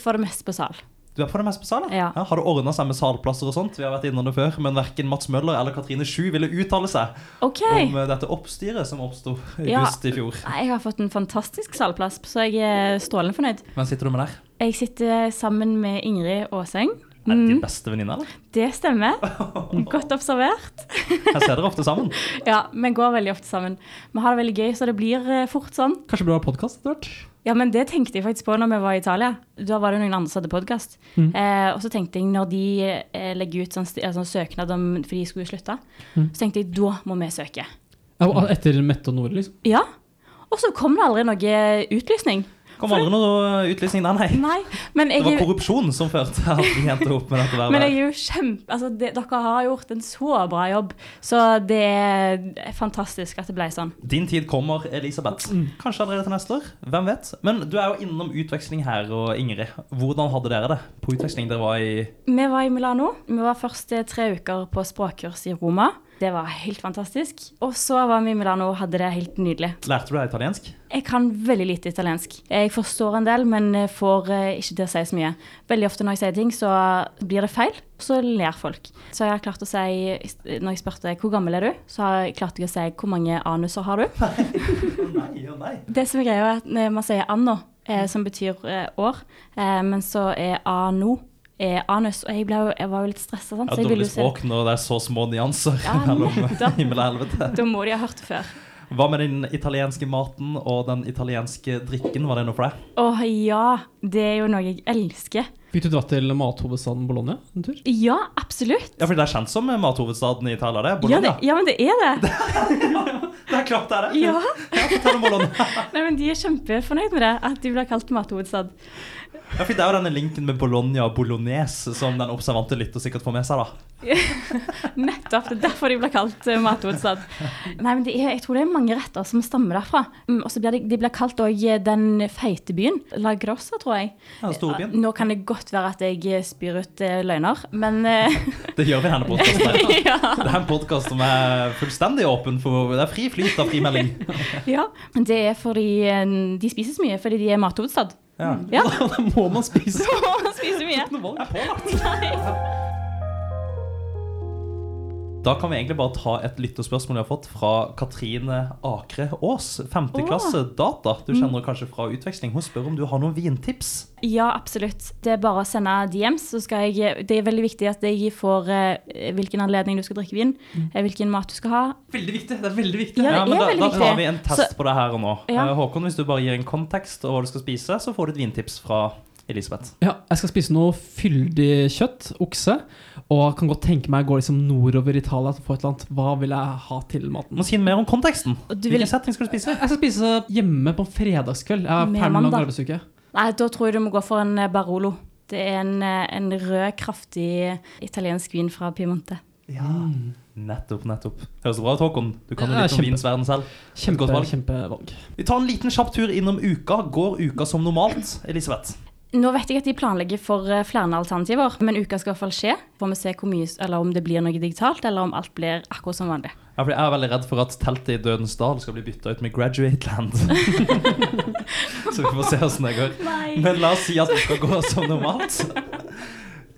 For det meste på sal. Du er på det mest på sal, Ja. Har det ordna seg med salplasser og sånt? Vi har vært innom det før, men verken Mats Møller eller Katrine Sju ville uttale seg OK. om eh, dette oppstyret som oppsto i Ja. august i fjor. Nei, Jeg har fått en fantastisk salplass, så jeg er strålende fornøyd. Hvem sitter du med der? Jeg sitter sammen med Ingrid Aaseng. Er det Mm. din beste venninne, eller? Det stemmer. Godt observert. Jeg ser dere ofte sammen. Ja, vi går veldig ofte sammen. Vi har det veldig gøy, så det blir eh, fort sånn. Kanskje bra podkast etter hvert? Ja, men det tenkte jeg faktisk på når vi var i Italia. Da var det noen andre som hadde podkast. Eh, og så tenkte jeg, når de eh, legger ut sånn, sti- eh, sånn søknad om fordi de skulle slutte, så tenkte jeg da må vi søke. Ja, og etter Mette og Nore, liksom. Ja. Og så kom det aldri noe utlysning. Kom aldri noe utlysning der, nei. Nei, men Det jeg, var er- korrupsjon som førte at vi endte opp med dette men jeg vervet. er jo kjempe... Altså, det, dere har gjort en så bra jobb, så det er fantastisk at det ble sånn. Din tid kommer, Elisabeth. Mm. Kanskje allerede til neste år. Hvem vet. Men du er jo innom utveksling her, og Ingrid. Hvordan hadde dere det på utveksling? Dere var i Vi var i Milano. Vi var først eh, tre uker på språkkurs i Roma. Det var helt fantastisk. Og så var vi i Milano og hadde det helt nydelig. Lærte du deg italiensk? Jeg kan veldig lite italiensk. Jeg forstår en del, men eh, får eh, ikke til å si så mye. Veldig ofte når jeg sier ting, så blir det feil, og så ler folk. Så jeg har klart å si, når jeg spurte hvor gammel er du, så har jeg klart å si hvor mange anuser har du. Nei, ja, nei. Det som er greia er at når man sier anno, eh, som betyr eh, år, eh, men så er ano er anus, og jeg, ble, jo- jeg var jo litt stressa, sant? Ja, så jeg ville dårlig jo si språk når det er så små nyanser Ja, mellom nettopp. himmel og helvete. Da må de ha hørt det før. Hva med den italienske maten og den italienske drikken? Var det noe for deg? Åh ja, det er jo noe jeg elsker. Fikk du dratt til mathovedstaden Bologna en tur? Ja, absolutt. Ja, for det er kjent som mathovedstaden i Italia, det. Ja, det, Bologna. ja, men det er det. det er klart det er det. Ja. Ja, fortell om Bologna. Nei, men De er kjempefornøyd med det, at de blir kalt mathovedstad. Ja, for det er jo denne linken med Bologna og bolognese som den observante lytter sikkert får med seg, da. Nettopp. Det er derfor de blir kalt eh, mathovedstad. Nei, men det er, Jeg tror det er mange retter som stammer derfra. Mm, Og så blir de, de blir kalt òg den feite byen. La Grossa, tror jeg. Ja, Storbyen. Nå kan det godt være at jeg spyr ut eh, løgner, men eh, Det gjør vi i denne podkasten. ja. Det er en podkast som er fullstendig åpen for Det er fri flyt av frimelding. ja. Det er fordi eh, de spiser så mye fordi de er mathovedstad. Ja. Ja, Da må man spise! de spiser mye. Det er pålagt. Da kan vi egentlig bare ta et lytterspørsmål vi har fått fra Katrine Akre Aas, femte Åh. Mm. klasse data. Du kjenner henne kanskje fra utveksling. Hun spør om du har noen vintips. Ja, absolutt. Det er bare å sende DMs. Så skal jeg, det er veldig viktig at jeg får eh, hvilken anledning du skal drikke vin, Mm. eh, hvilken mat du skal ha. Veldig viktig. Det er veldig viktig. Ja, det men er da, veldig da viktig. tar vi en test Så- på det her og nå. Ja. Eh, Håkon, hvis du bare gir en kontekst og hva du skal spise, så får du et vintips fra Elisabeth. Ja, jeg skal spise noe fyldig kjøtt, okse, og kan godt tenke meg å gå liksom nordover i Italia og få et eller annet. Hva vil jeg ha til Du maten? må si mer om konteksten. Og du vil- Hvilken setting skal du spise? Jeg skal spise hjemme på en fredagskveld. Jeg er Med ferdig med lang mandag. arbeidsuke. Nei, da tror jeg du må gå for en eh, Barolo. Det er en, eh, en rød, kraftig italiensk vin fra Piemonte. Ja. Nettopp, nettopp. Høres det bra ut, Håkon? Du kan jo Ja, litt om kjempe. vins verden selv. Kjempe, Godt valg. kjempevalg. Vi tar en liten kjapp tur innom uka. Går uka som normalt, Elisabeth? Nå vet jeg at de planlegger for eh, flere alternativer, men uka skal i hvert fall skje. Får vi se hvor mye, eller om det blir noe digitalt, eller om alt blir akkurat som vanlig. Ja, for Jeg er veldig redd for at teltet i Dødens dal skal bli bytta ut med Graduate Land. Så vi får se åssen det går. Nei. Men la oss si at uka går som normalt.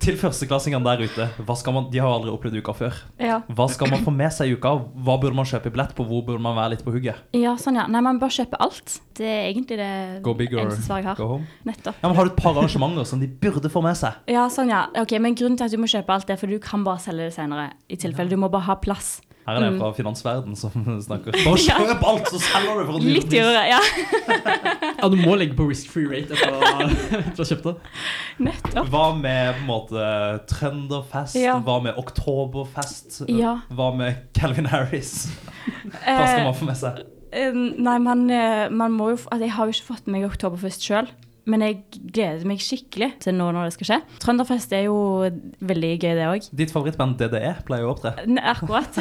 Til førsteklassingene der ute, hva skal man, de har jo aldri opplevd uka før. Ja. Hva skal man få med seg i uka? Hva burde man kjøpe billett på? Hvor burde man være litt på hugget? ja, sånn ja. Nei, man bør kjøpe alt. Det er egentlig det Go big or eneste svaret jeg har. go home? Nettopp. Ja, men Har du et par arrangementer som de burde få med seg? Ja, sånn ja. Ok, Men grunnen til at du må kjøpe alt, det er for du kan bare selge det senere. I tilfelle. Du må bare ha plass. Her er det en Mm. fra finansverden som snakker. Bare Ja. kjøp alt, så selger du for en Litt dyrere, ja. Ja, du må legge på risk-free rate etter å etter å ha kjøpt det. Nettopp. Hva med på en måte Trønderfest? Ja. Hva med Oktoberfest? Ja. Hva med Calvin Harris? Hva skal Eh, man få med seg? eh, nei, man, eh, man må jo f- altså, Jeg har jo ikke fått med meg Oktoberfest sjøl. Men jeg gleder meg skikkelig til nå når det skal skje. Trønderfest er jo veldig gøy, det òg. Ditt favorittband DDE pleier å opptre. Akkurat.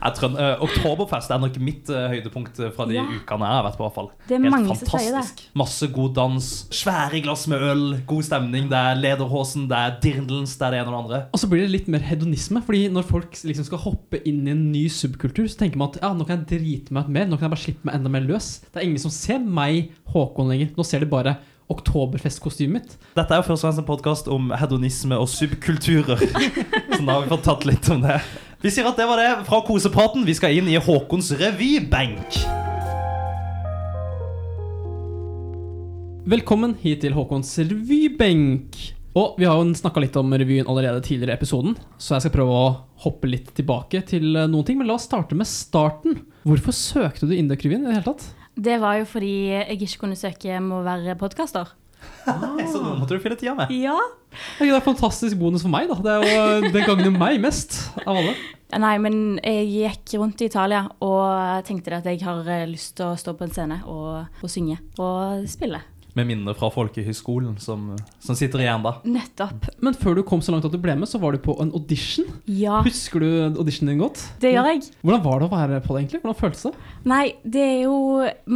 Jeg tror, eh, Oktoberfest er nok mitt eh, høydepunkt eh, fra de Ja. ukene jeg har vært på. i hvert fall. Det er Helt mange som sier det. fantastisk. Masse god dans, svære glass med øl, god stemning. Det er Lederhosen, det er Dirndlens, det er det ene og det andre. Og så blir det litt mer hedonisme, fordi når folk liksom skal hoppe inn i en ny subkultur, så tenker man at ja, nå kan jeg drite meg ut mer, nå kan jeg bare slippe meg enda mer løs. Det er ingen som ser meg, Håkon, lenger. Nå ser de bare oktoberfestkostymet mitt. Dette er jo først og fremst en podkast om hedonisme og subkulturer. Så da har vi fått tatt litt om det. Vi sier at det var det fra kosepraten. Vi skal inn i Håkons revybenk. Velkommen hit til Håkons revybenk. Og vi har jo snakka litt om revyen allerede tidligere i episoden, så jeg skal prøve å hoppe litt tilbake til eh, noen ting. Men la oss starte med starten. Hvorfor søkte du Indøk-revyen i det hele tatt? Det var jo fordi jeg ikke kunne søke om å være podkaster. Så nå måtte du fylle tida med. Ja. Det er en fantastisk bonus for meg, da. Det er jo eh, den gangen meg mest av alle. Nei, men jeg gikk rundt i Italia og tenkte det at jeg har eh, lyst til å stå på en scene og, og synge og spille. Med minner fra folkehøyskolen som, som sitter igjen da. Nettopp. Men før du kom så langt at du ble med, så var du på en audition. Ja, Husker du auditionen din godt? det gjør jeg. Hvordan var det å være på det, egentlig? Hvordan føltes det? Nei, det er jo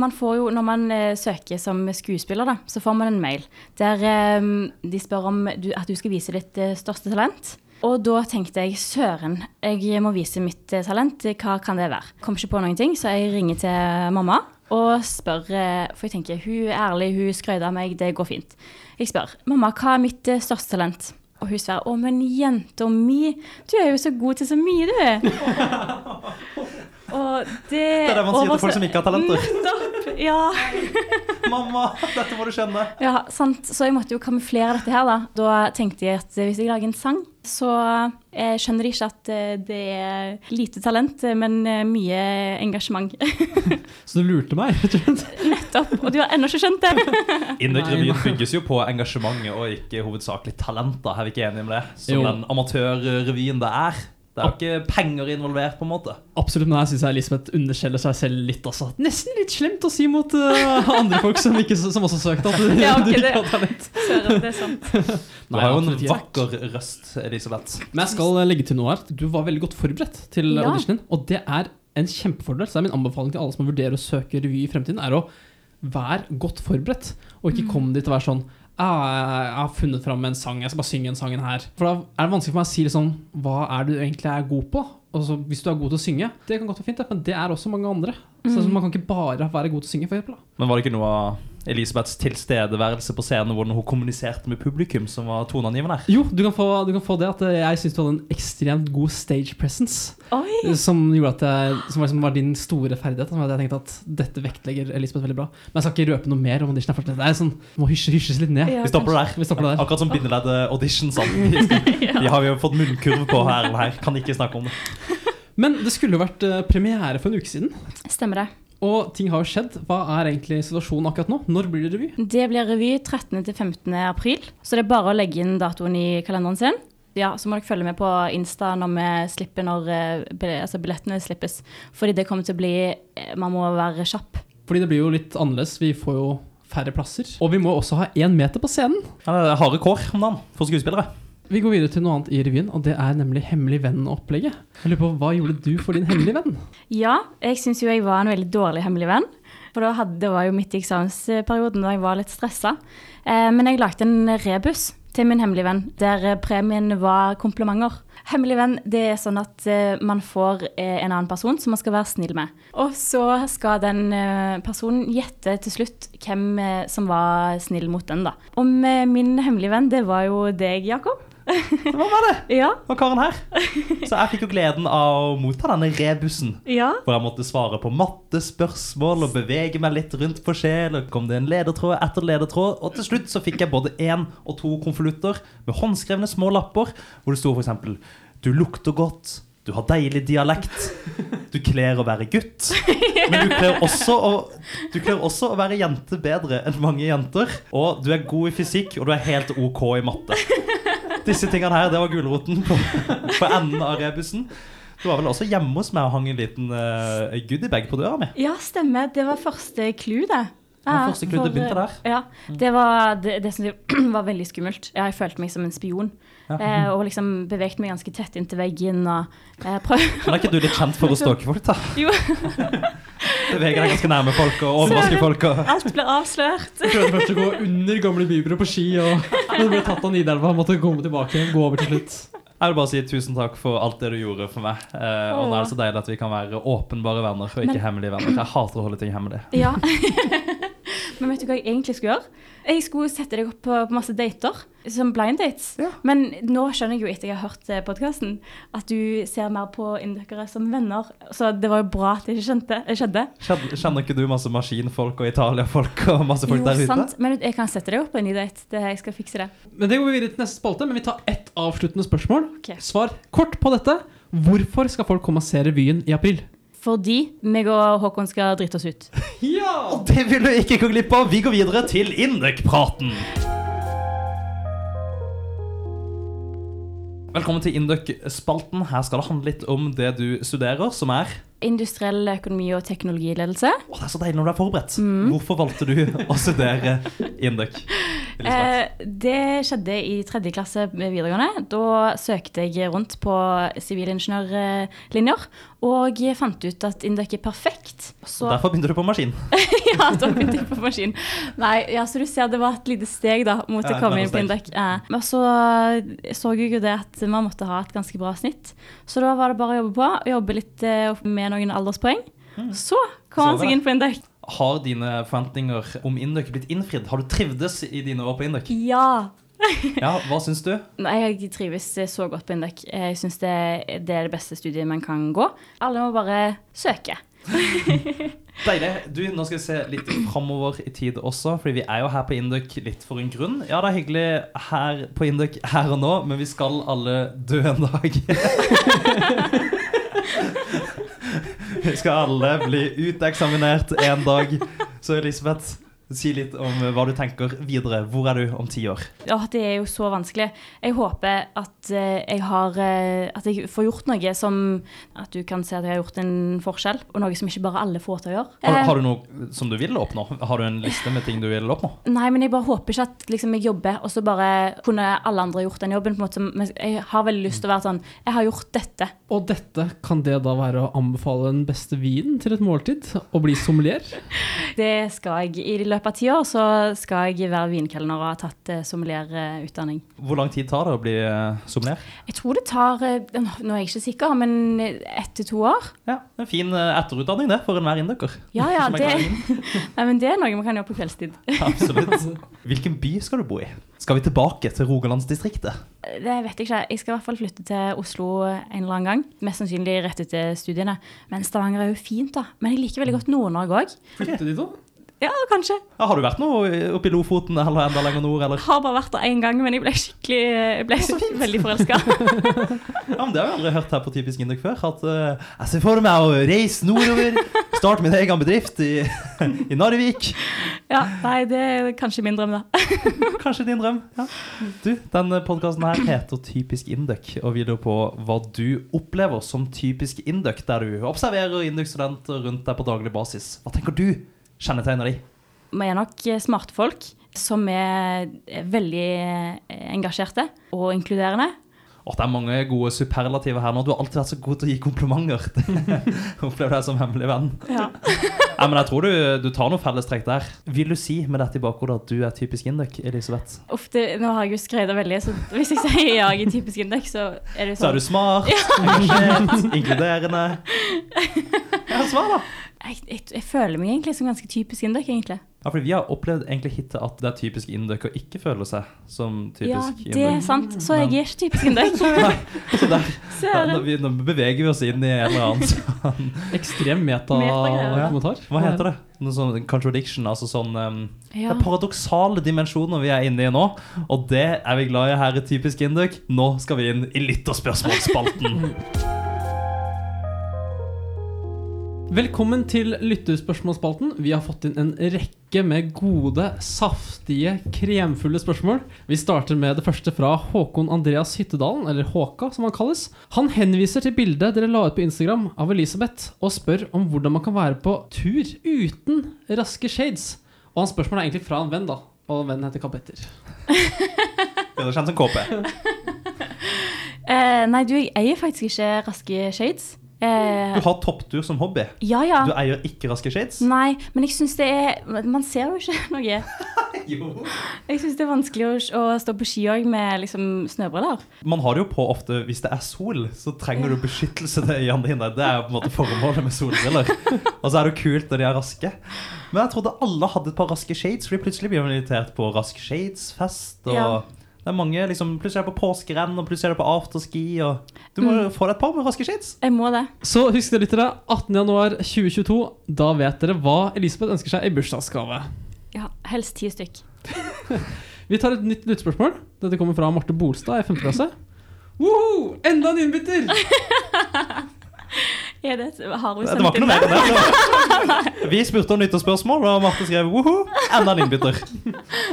Man får jo, når man eh, søker som skuespiller, da, så får man en mail der eh, de spør om du, at du skal vise ditt eh, største talent. Og da tenkte jeg søren, jeg må vise mitt eh, talent, hva kan det være? Kom ikke på noen ting, så jeg ringer til mamma og spør eh, For jeg tenker, hun er ærlig, hun skrøt av meg, det går fint. Jeg spør mamma, hva er mitt eh, største talent? Og hun svarer å, men jenta mi, du er jo så god til så mye, du. Og det Det er det man sier til folk som ikke har talenter. Nettopp, ja. Mamma, dette må du skjønne. ja sant. Så jeg måtte jo kamuflere dette her, da. Da tenkte jeg at eh, hvis jeg lager en sang, så eh, skjønner de ikke at eh, det er lite talent, eh, men eh, mye engasjement. Så du lurte meg? rett og slett. Nettopp. Og du har ennå ikke skjønt det. Indøk-revyen bygges jo på engasjement og ikke hovedsakelig talenter. Er vi ikke enige om det? Som Jo. den amatørrevyen det er. Det er jo ikke penger involvert, på en måte. Absolutt, men her syns jeg Elisabeth underskjeller seg selv litt. Altså. Nesten litt slemt å si mot eh, andre folk som, ikke, som også søkte. At du, Ja, ok, du det- ikke hadde talent. Søren, det er sant. Du har jo en absolutt ikke. vakker røst, Elisabeth. Men jeg skal eh, legge til noe her. Du var veldig godt forberedt til Ja. auditionen. Og det er en kjempefordel. Så det er min anbefaling til alle som vurderer å søke revy i fremtiden, er å være godt forberedt. Og ikke komme dit og være sånn «Ah, jeg har funnet fram en sang, jeg skal bare synge den sangen her. For da er det vanskelig for meg å si liksom, hva er det du egentlig er god på? Altså, hvis du er god til å synge, det kan godt være fint, det, men det er også mange andre. Så man kan ikke bare være god til å synge, for eksempel. da. Men var det ikke noe av Elisabeths tilstedeværelse på scenen, hvordan hun kommuniserte med publikum, som var toneangivende her? Jo, du kan, få, du kan få det at eh, jeg syns du hadde en ekstremt god stage presence. Oi. Som gjorde at jeg, som var, som var din store ferdighet. Som at jeg tenkte at dette vektlegger Elisabeth veldig bra. Men jeg skal ikke røpe noe mer om audition. her, for Det er sånn, må hysje, hysjes litt ned. Ja, Vi stopper der. Vi stopper der. Akkurat som bindeledde-auditionene. De har vi jo fått munnkurv på her og her. Kan ikke snakke om det. Men det skulle jo vært eh, premiere for en uke siden, Stemmer det. og ting har jo skjedd. Hva er egentlig situasjonen akkurat nå? Når blir det revy? Det blir revy 13. til 15. april, så det er bare å legge inn datoen i kalenderen sin. Ja, så må dere følge med på Insta når vi slipper når eh, bill- altså billettene slippes. Fordi det kommer til å bli eh, Man må være kjapp. Fordi det blir jo litt annerledes. Vi får jo færre plasser. Og vi må jo også ha én meter på scenen. Ja, det er harde kår om dagen for skuespillere. Vi går videre til noe annet i revyen, og det er nemlig Hemmelig venn-opplegget. Jeg lurer på, Hva gjorde du for din hemmelige venn? Ja, jeg syns jo jeg var en veldig dårlig hemmelig venn. For da hadde, det var jo midt i eksamensperioden og jeg var litt stressa. Eh, men jeg lagde en rebus til min hemmelige venn, der eh, premien var komplimenter. Hemmelig venn, det er sånn at eh, man får eh, en annen person som man skal være snill med. Og så skal den eh, personen gjette til slutt hvem eh, som var snill mot den, da. Om eh, min hemmelige venn, det var jo deg, Jakob. Hva var det? Ja. Og karen her. Så jeg fikk jo gleden av å motta denne rebusen. Ja. Hvor jeg måtte svare på mattespørsmål og bevege meg litt rundt på sjel. Og kom det en ledertråd etter ledertråd. Og til slutt så fikk jeg både én og to konvolutter med håndskrevne små lapper hvor det sto f.eks.: Du lukter godt. Du har deilig dialekt. Du kler å være gutt. Men du kler også å, du kler også å være jente bedre enn mange jenter. Og du er god i fysikk, og du er helt OK i matte. Disse tingene her, det var gulroten på, på enden av rebusen. Du var vel også hjemme hos meg og hang en liten uh, goodiebag på døra mi. Ja, stemmer. Det var første clou, det. var første clou, for- eh, det begynte der. Ja, Mm. det var det, det som var veldig skummelt. Ja, jeg følte meg som en spion. Eh, og liksom bevegte meg ganske tett inntil veggen og eh, prøv... Men er ikke du litt kjent for å stalke folk, da? Jo, Beveger deg ganske nærme folk og overrasker folk. Og... alt ble avslørt. Jeg prøvde først å gå under gamle bybro på ski, og når du ble tatt av Nidelva, måtte komme tilbake igjen, gå over til slutt. Jeg vil bare si tusen takk for alt det du gjorde for meg. Eh, og nå er det så deilig at vi kan være åpenbare venner og ikke Men- hemmelige venner. Jeg hater å holde ting hemmelig. Ja. Men vet du hva jeg egentlig skulle gjøre? Jeg skulle sette deg opp på, på masse dater, som blind dates. Men nå skjønner jeg jo etter jeg har hørt podkasten, at du ser mer på inndøkkere som venner. Så det var jo bra at det ikke skjønte- skjedde. Kjenner, kjenner ikke du masse maskinfolk og italiafolk og masse folk jo, der ute? sant. Men jeg kan sette deg opp på en ny date. Det, jeg skal fikse det. Men det går vi videre til neste spalte, men vi tar ett avsluttende spørsmål. Ok. Svar kort på dette. Hvorfor skal folk komme og se revyen i april? Fordi meg og Håkon skal drite oss ut. Ja! Og det vil du ikke gå glipp av. Vi går videre til Indøk-praten. Velkommen til Indøk-spalten. Her skal det handle litt om det du studerer, som er Industriell økonomi og teknologiledelse. Å, det er så deilig når du er forberedt. Mm. Hvorfor valgte du å studere Indøk? Elisabeth? Eh, det skjedde i tredje klasse med videregående. Da søkte jeg rundt på sivilingeniørlinjer og fant ut at Induc er perfekt. Så Derfor begynte du på maskin. ja, da begynte jeg på maskin. Nei, ja, så du ser det var et lite steg da, mot Ja, å et komme inn på mellomsteg. Induc. Eh, men så så jeg jo det at man måtte ha et ganske bra snitt. Så da var det bare å jobbe på, jobbe litt eh, opp med noen alderspoeng. Så kom Mm. Så han var seg det. inn på Induc. Har dine forventninger om Indøk blitt innfridd? Har du trivdes i dine år på Indøk? Ja. Ja, hva syns du? Nei, jeg trives så godt på Induc. Jeg syns det, det er det beste studiet man kan gå. Alle må bare søke. Deilig. Du, nå skal vi se litt framover i tid også, fordi vi er jo her på Induc litt for en grunn. Ja, det er hyggelig her på Induc her og nå, men vi skal alle dø en dag. vi skal alle bli uteksaminert en dag. Så Elisabeth, si litt om hva du tenker videre. Hvor er du om ti år? Ja, det er jo så vanskelig. Jeg håper at eh, jeg, har, eh, at jeg får gjort noe som At du kan se at jeg har gjort en forskjell, og noe som ikke bare alle får til å gjøre. Har, Eh, har du noe som du vil oppnå? Har du en liste med ting du vil oppnå? Eh, Nei, men jeg bare håper ikke at liksom, jeg jobber, og så bare kunne alle andre gjort den jobben. på en måte. Men jeg har veldig lyst til å være sånn Jeg har gjort dette. Og dette kan det da være å anbefale den beste vinen til et måltid, og bli sommelier? Det skal jeg. I løpet av ti år så skal jeg være vinkelner og ha tatt eh, sommelierutdanning. Hvor lang tid tar det å bli eh, sommelier? Jeg tror det tar eh, Nå er jeg ikke sikker, men eh, ett til to år. Ja, En fin eh, etterutdanning det, for enhver induker. Ja, ja, Som er det, glad i vin. nei, men det er noe man kan gjøre på kveldstid. Absolutt. Hvilken by skal du bo i? Skal vi tilbake til Rogalandsdistriktet? Det vet jeg ikke. Jeg skal i hvert fall flytte til Oslo en eller annen gang. Mest sannsynlig rett etter studiene. Men Stavanger er jo fint, da. Men jeg liker veldig godt Nord-Norge òg. Flytte dit da? Ja, kanskje. Ja, har du vært noe oppe i Lofoten eller enda lenger nord? Eller? Har bare vært der én gang, men jeg ble skikkelig jeg ble veldig forelska. Ja, men Det har vi aldri hørt her på Typisk Induk før. At eh, jeg ser for meg å reise nordover, starte min egen bedrift i, i Narvik. Ja, nei, det er kanskje min drøm, da. Kanskje din drøm. Ja. Du, Denne podkasten her heter Typisk Induk, og vi lurer på hva du opplever som typisk Induk, der du observerer Induk-studenter rundt deg på daglig basis. Hva tenker du kjennetegner de? Vi er nok eh, smarte folk som er eh, veldig eh, engasjerte og inkluderende. Åh, det er mange gode superlativer her nå. Du har alltid vært så god til å gi komplimenter. Jeg Opplever deg som hemmelig venn. Ja. Ja, men jeg tror du, du tar noe fellestrekk der. Vil du si med dette i bakhodet at du er typisk induk, Elisabeth? Uff, det, nå har jeg jo skrevet veldig, så hvis jeg sier ja, jeg er typisk indek, så er det Så sånn er du smart, engasjert, inkluderende. Ja, svar, da. jeg, jeg, jeg føler meg egentlig som ganske typisk indek, egentlig. Ja, fordi Vi har opplevd egentlig hittil at det er typisk induk å ikke føle seg som typisk ja, det er induk. sant. Så jeg er ikke typisk indek. Så der, der, Søren. når vi, nå beveger vi oss inn i en eller annen sånn Ekstrem Metagreier. metakommentar. Hva heter det? Noe sånn contradiction, altså sånn um, Det Ja. er paradoksale dimensjoner vi er inne i nå, og det er vi glad i her i Typisk Induk. Nå skal vi inn i lytterspørsmålsspalten. Velkommen til lytterspørsmålsspalten. Vi har fått inn en rekke med gode, saftige, kremfulle spørsmål. Vi starter med det første fra Håkon Andreas Hyttedalen, eller Håka som han kalles. Han henviser til bildet dere la ut på Instagram av Elisabeth, og spør om hvordan man kan være på tur uten raske shades. Og hans spørsmål er egentlig fra en venn, da. Og vennen heter Karl Petter. Bedre kjent som KP. Eh, nei, du, jeg eier faktisk ikke raske shades. Eh, Du har topptur som hobby. ja, ja. Du eier ikke raske shades. Nei, men jeg syns det er Man ser jo ikke noe. Jo. Jeg syns det er vanskelig å, å stå på ski òg med liksom snøbriller. Man har det jo på ofte hvis det er sol, så trenger du beskyttelse til øynene dine. Det er jo på en måte formålet med solbriller. Og så er det jo kult når de er raske. Men jeg trodde alle hadde et par raske shades, fordi plutselig blir man invitert på Rask Shades-fest. og... Ja. Det er mange, liksom, Plutselig er det på påskerenn, og plutselig er det på afterski. og... Du må jo få deg et par med raske shades. Jeg må det. Så husk det, lyttere. 18.1.2022. Da vet dere hva Elisabeth ønsker seg i bursdagsgave. Ja, helst ti stykk. Vi tar et nytt lyttespørsmål. Dette kommer fra Marte Bolstad i 5. klasse. Woho! Enda en innbytter! Er det, har hun Det var sendt ikke inn noe mer det? enn det. det. var- Vi spurte om nyttårsspørsmål, og Marte skrev woho, enda en innbytter.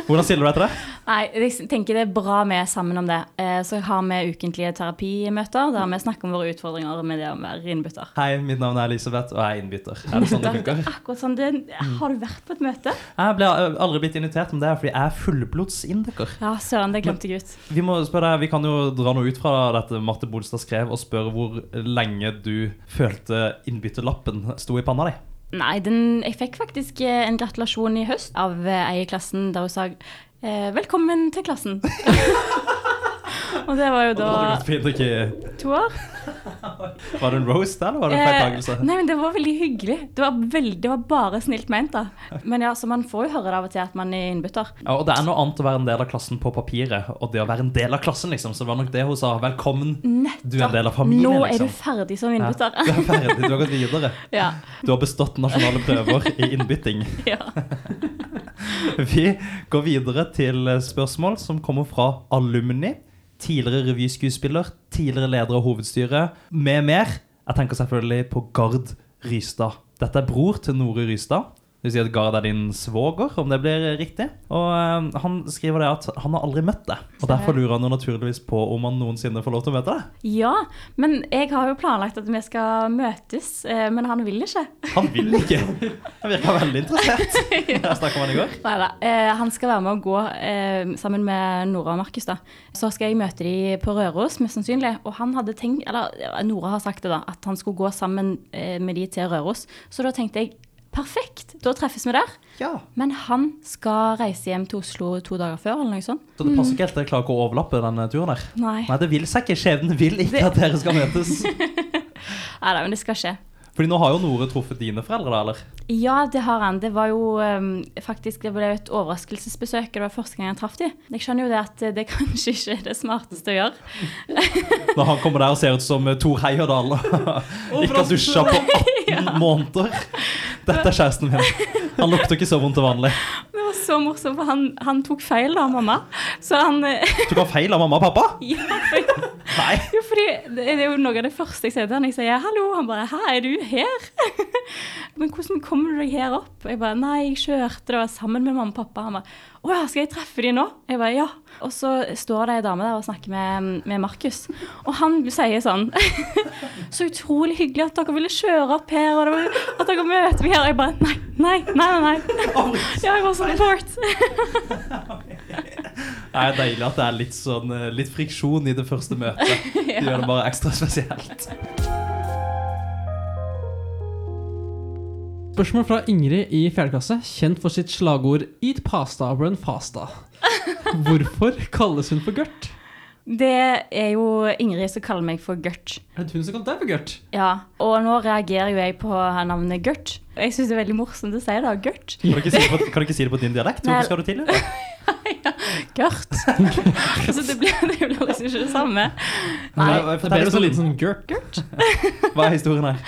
Hvordan stiller du deg til det? Nei, jeg tenker det er bra vi er sammen om det. Eh, så har vi ukentlige terapimøter der vi snakker om våre utfordringer med det å være innbytter. Hei, mitt navn er Elisabeth, og jeg er innbytter. Er det sånn det funker? Mm. Akkurat sånn, det, Har du vært på et møte? Jeg ble aldri blitt invitert, men det er fordi jeg er fullblodsindiker. Ja, søren, det glemte jeg ut. Vi må spørre deg, vi kan jo dra noe ut fra dette Marte Bolstad skrev, og spørre hvor lenge du følte innbytterlappen sto i panna di. Nei, den, jeg fikk faktisk eh, en gratulasjon i høst av eh, ei i klassen der hun sa eh, 'velkommen til klassen'. og det var jo Da da hadde du gått på inntrykk i- to år. Var det en roast, eller var det en Eh, feiltakelse? nei, men det var veldig hyggelig. Det var, veldig, det var bare snilt ment, da. Men ja, så man får jo høre det av og til at man er innbytter. Ja, og det er noe annet å være en del av klassen på papiret, og det å være en del av klassen, liksom. Så det var nok det hun sa. Velkommen. Du er en del av familien, Nå er liksom. du ferdig som Ja, innbytter. du er ferdig, du har gått videre. ja. Du har bestått nasjonale prøver i innbytting. ja. Vi går videre til eh, spørsmål som kommer fra alumni, tidligere revyskuespiller, tidligere leder av hovedstyret, med mer. Jeg tenker selvfølgelig på Gard Rystad. Dette er bror til Nore Rystad. Det vil si at Gard er din svoger, om det blir riktig. Og eh, han skriver det at han har aldri møtt deg. Og derfor lurer han jo naturligvis på om han noensinne får lov til å møte deg. ja. Men jeg har jo planlagt at vi skal møtes, eh, men han vil ikke. Han vil ikke. Han virker veldig interessert. Jeg snakket med han i går. Neida. Eh, han skal være med å gå eh, sammen med Nora og Markus. da. Så skal jeg møte de på Røros, mest sannsynlig. Og han hadde tenkt, eller ja, Nora har sagt det, da, at han skulle gå sammen eh, med de til Røros. Så da tenkte jeg perfekt, da treffes vi der. Ja. Men han skal reise hjem til Oslo to dager før, eller noe sånt. Så det passer ikke helt, dere klarer ikke å overlappe denne turen her. Nei. Nei, det vil seg ikke. Skjebnen vil ikke at dere skal møtes. Neida, men det skal skje. Fordi nå har jo Nore truffet dine foreldre, da, eller? Ja, det har han. Det var jo ehm, faktisk det ble et overraskelsesbesøk. og Det var første gang jeg traff dem. Jeg skjønner jo det at eh, det kanskje ikke er det smarteste å gjøre. Når han kommer der og ser ut som eh, Thor Heyerdahl. og Ikke har dusja på 18 måneder. Dette er kjæresten min. Han lukter ikke så vondt til vanlig. Det var så morsomt, for han, han tok feil av mamma. Så han eh, Tok han feil av mamma og pappa? ja, Nei. Jo, fordi det er jo noe av det første jeg sier til han. Jeg sier 'hallo', han bare 'hæ, er du her?' 'Men hvordan kommer du deg her opp?' Jeg bare 'nei, jeg kjørte, det var sammen med mamma og pappa'. Han bare 'å ja, skal jeg treffe de nå?' Jeg bare 'ja'. Og så står det ei dame der og snakker med, med Markus, og han sier sånn 'Så utrolig hyggelig at dere ville kjøre opp her, og det var, at dere møter meg her.' Og jeg bare 'nei, nei, nei, nei'. nei. Ja, jeg var sånn abort. Nei, det er Deilig at det er litt, sånn, eh, litt friksjon i det første møtet. Det gjør det bare ekstra spesielt. Spørsmål fra Ingrid i fjerde klasse, kjent for sitt slagord 'Eat pasta, run fasta'. Hvorfor kalles hun for Gørt? Det er jo Ingrid som kaller meg for Gørt. Er det hun som kalte deg for Gørt? Ja, og nå reagerer jo jeg på navnet Gørt. Og jeg syns det er veldig morsomt å si det, Gørt. Kan du ikke si det på, kan du ikke si det på din dialekt? Nei. Hvorfor skal du til det? Gørt. Så det blir, det blir liksom ikke det samme. Nei, Nei, det ble så liten sånn Gørt. Gørt. Hva er historien her?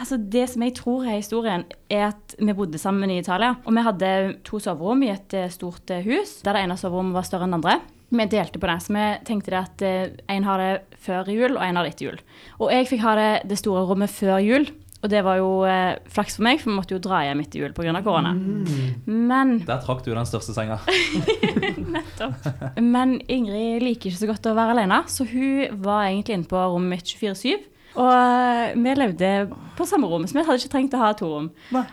Altså, det som jeg tror er historien, er at vi bodde sammen i Italia. Og vi hadde to soverom i et eh, stort eh, hus, der det ene soverommet var større enn det andre. Vi delte på det, så vi tenkte det at eh, en har det før jul, og en har det etter jul. Og jeg fikk ha det, det store rommet før jul, og det var jo eh, flaks for meg, for vi måtte jo dra hjem etter jul pga. korona. Men Der trakk du den største senga. Men Ingrid liker ikke så godt å være alene, så hun var egentlig inne på rommet mitt 24-7. Og eh, vi levde på samme rom, så vi hadde ikke trengt å ha to rom.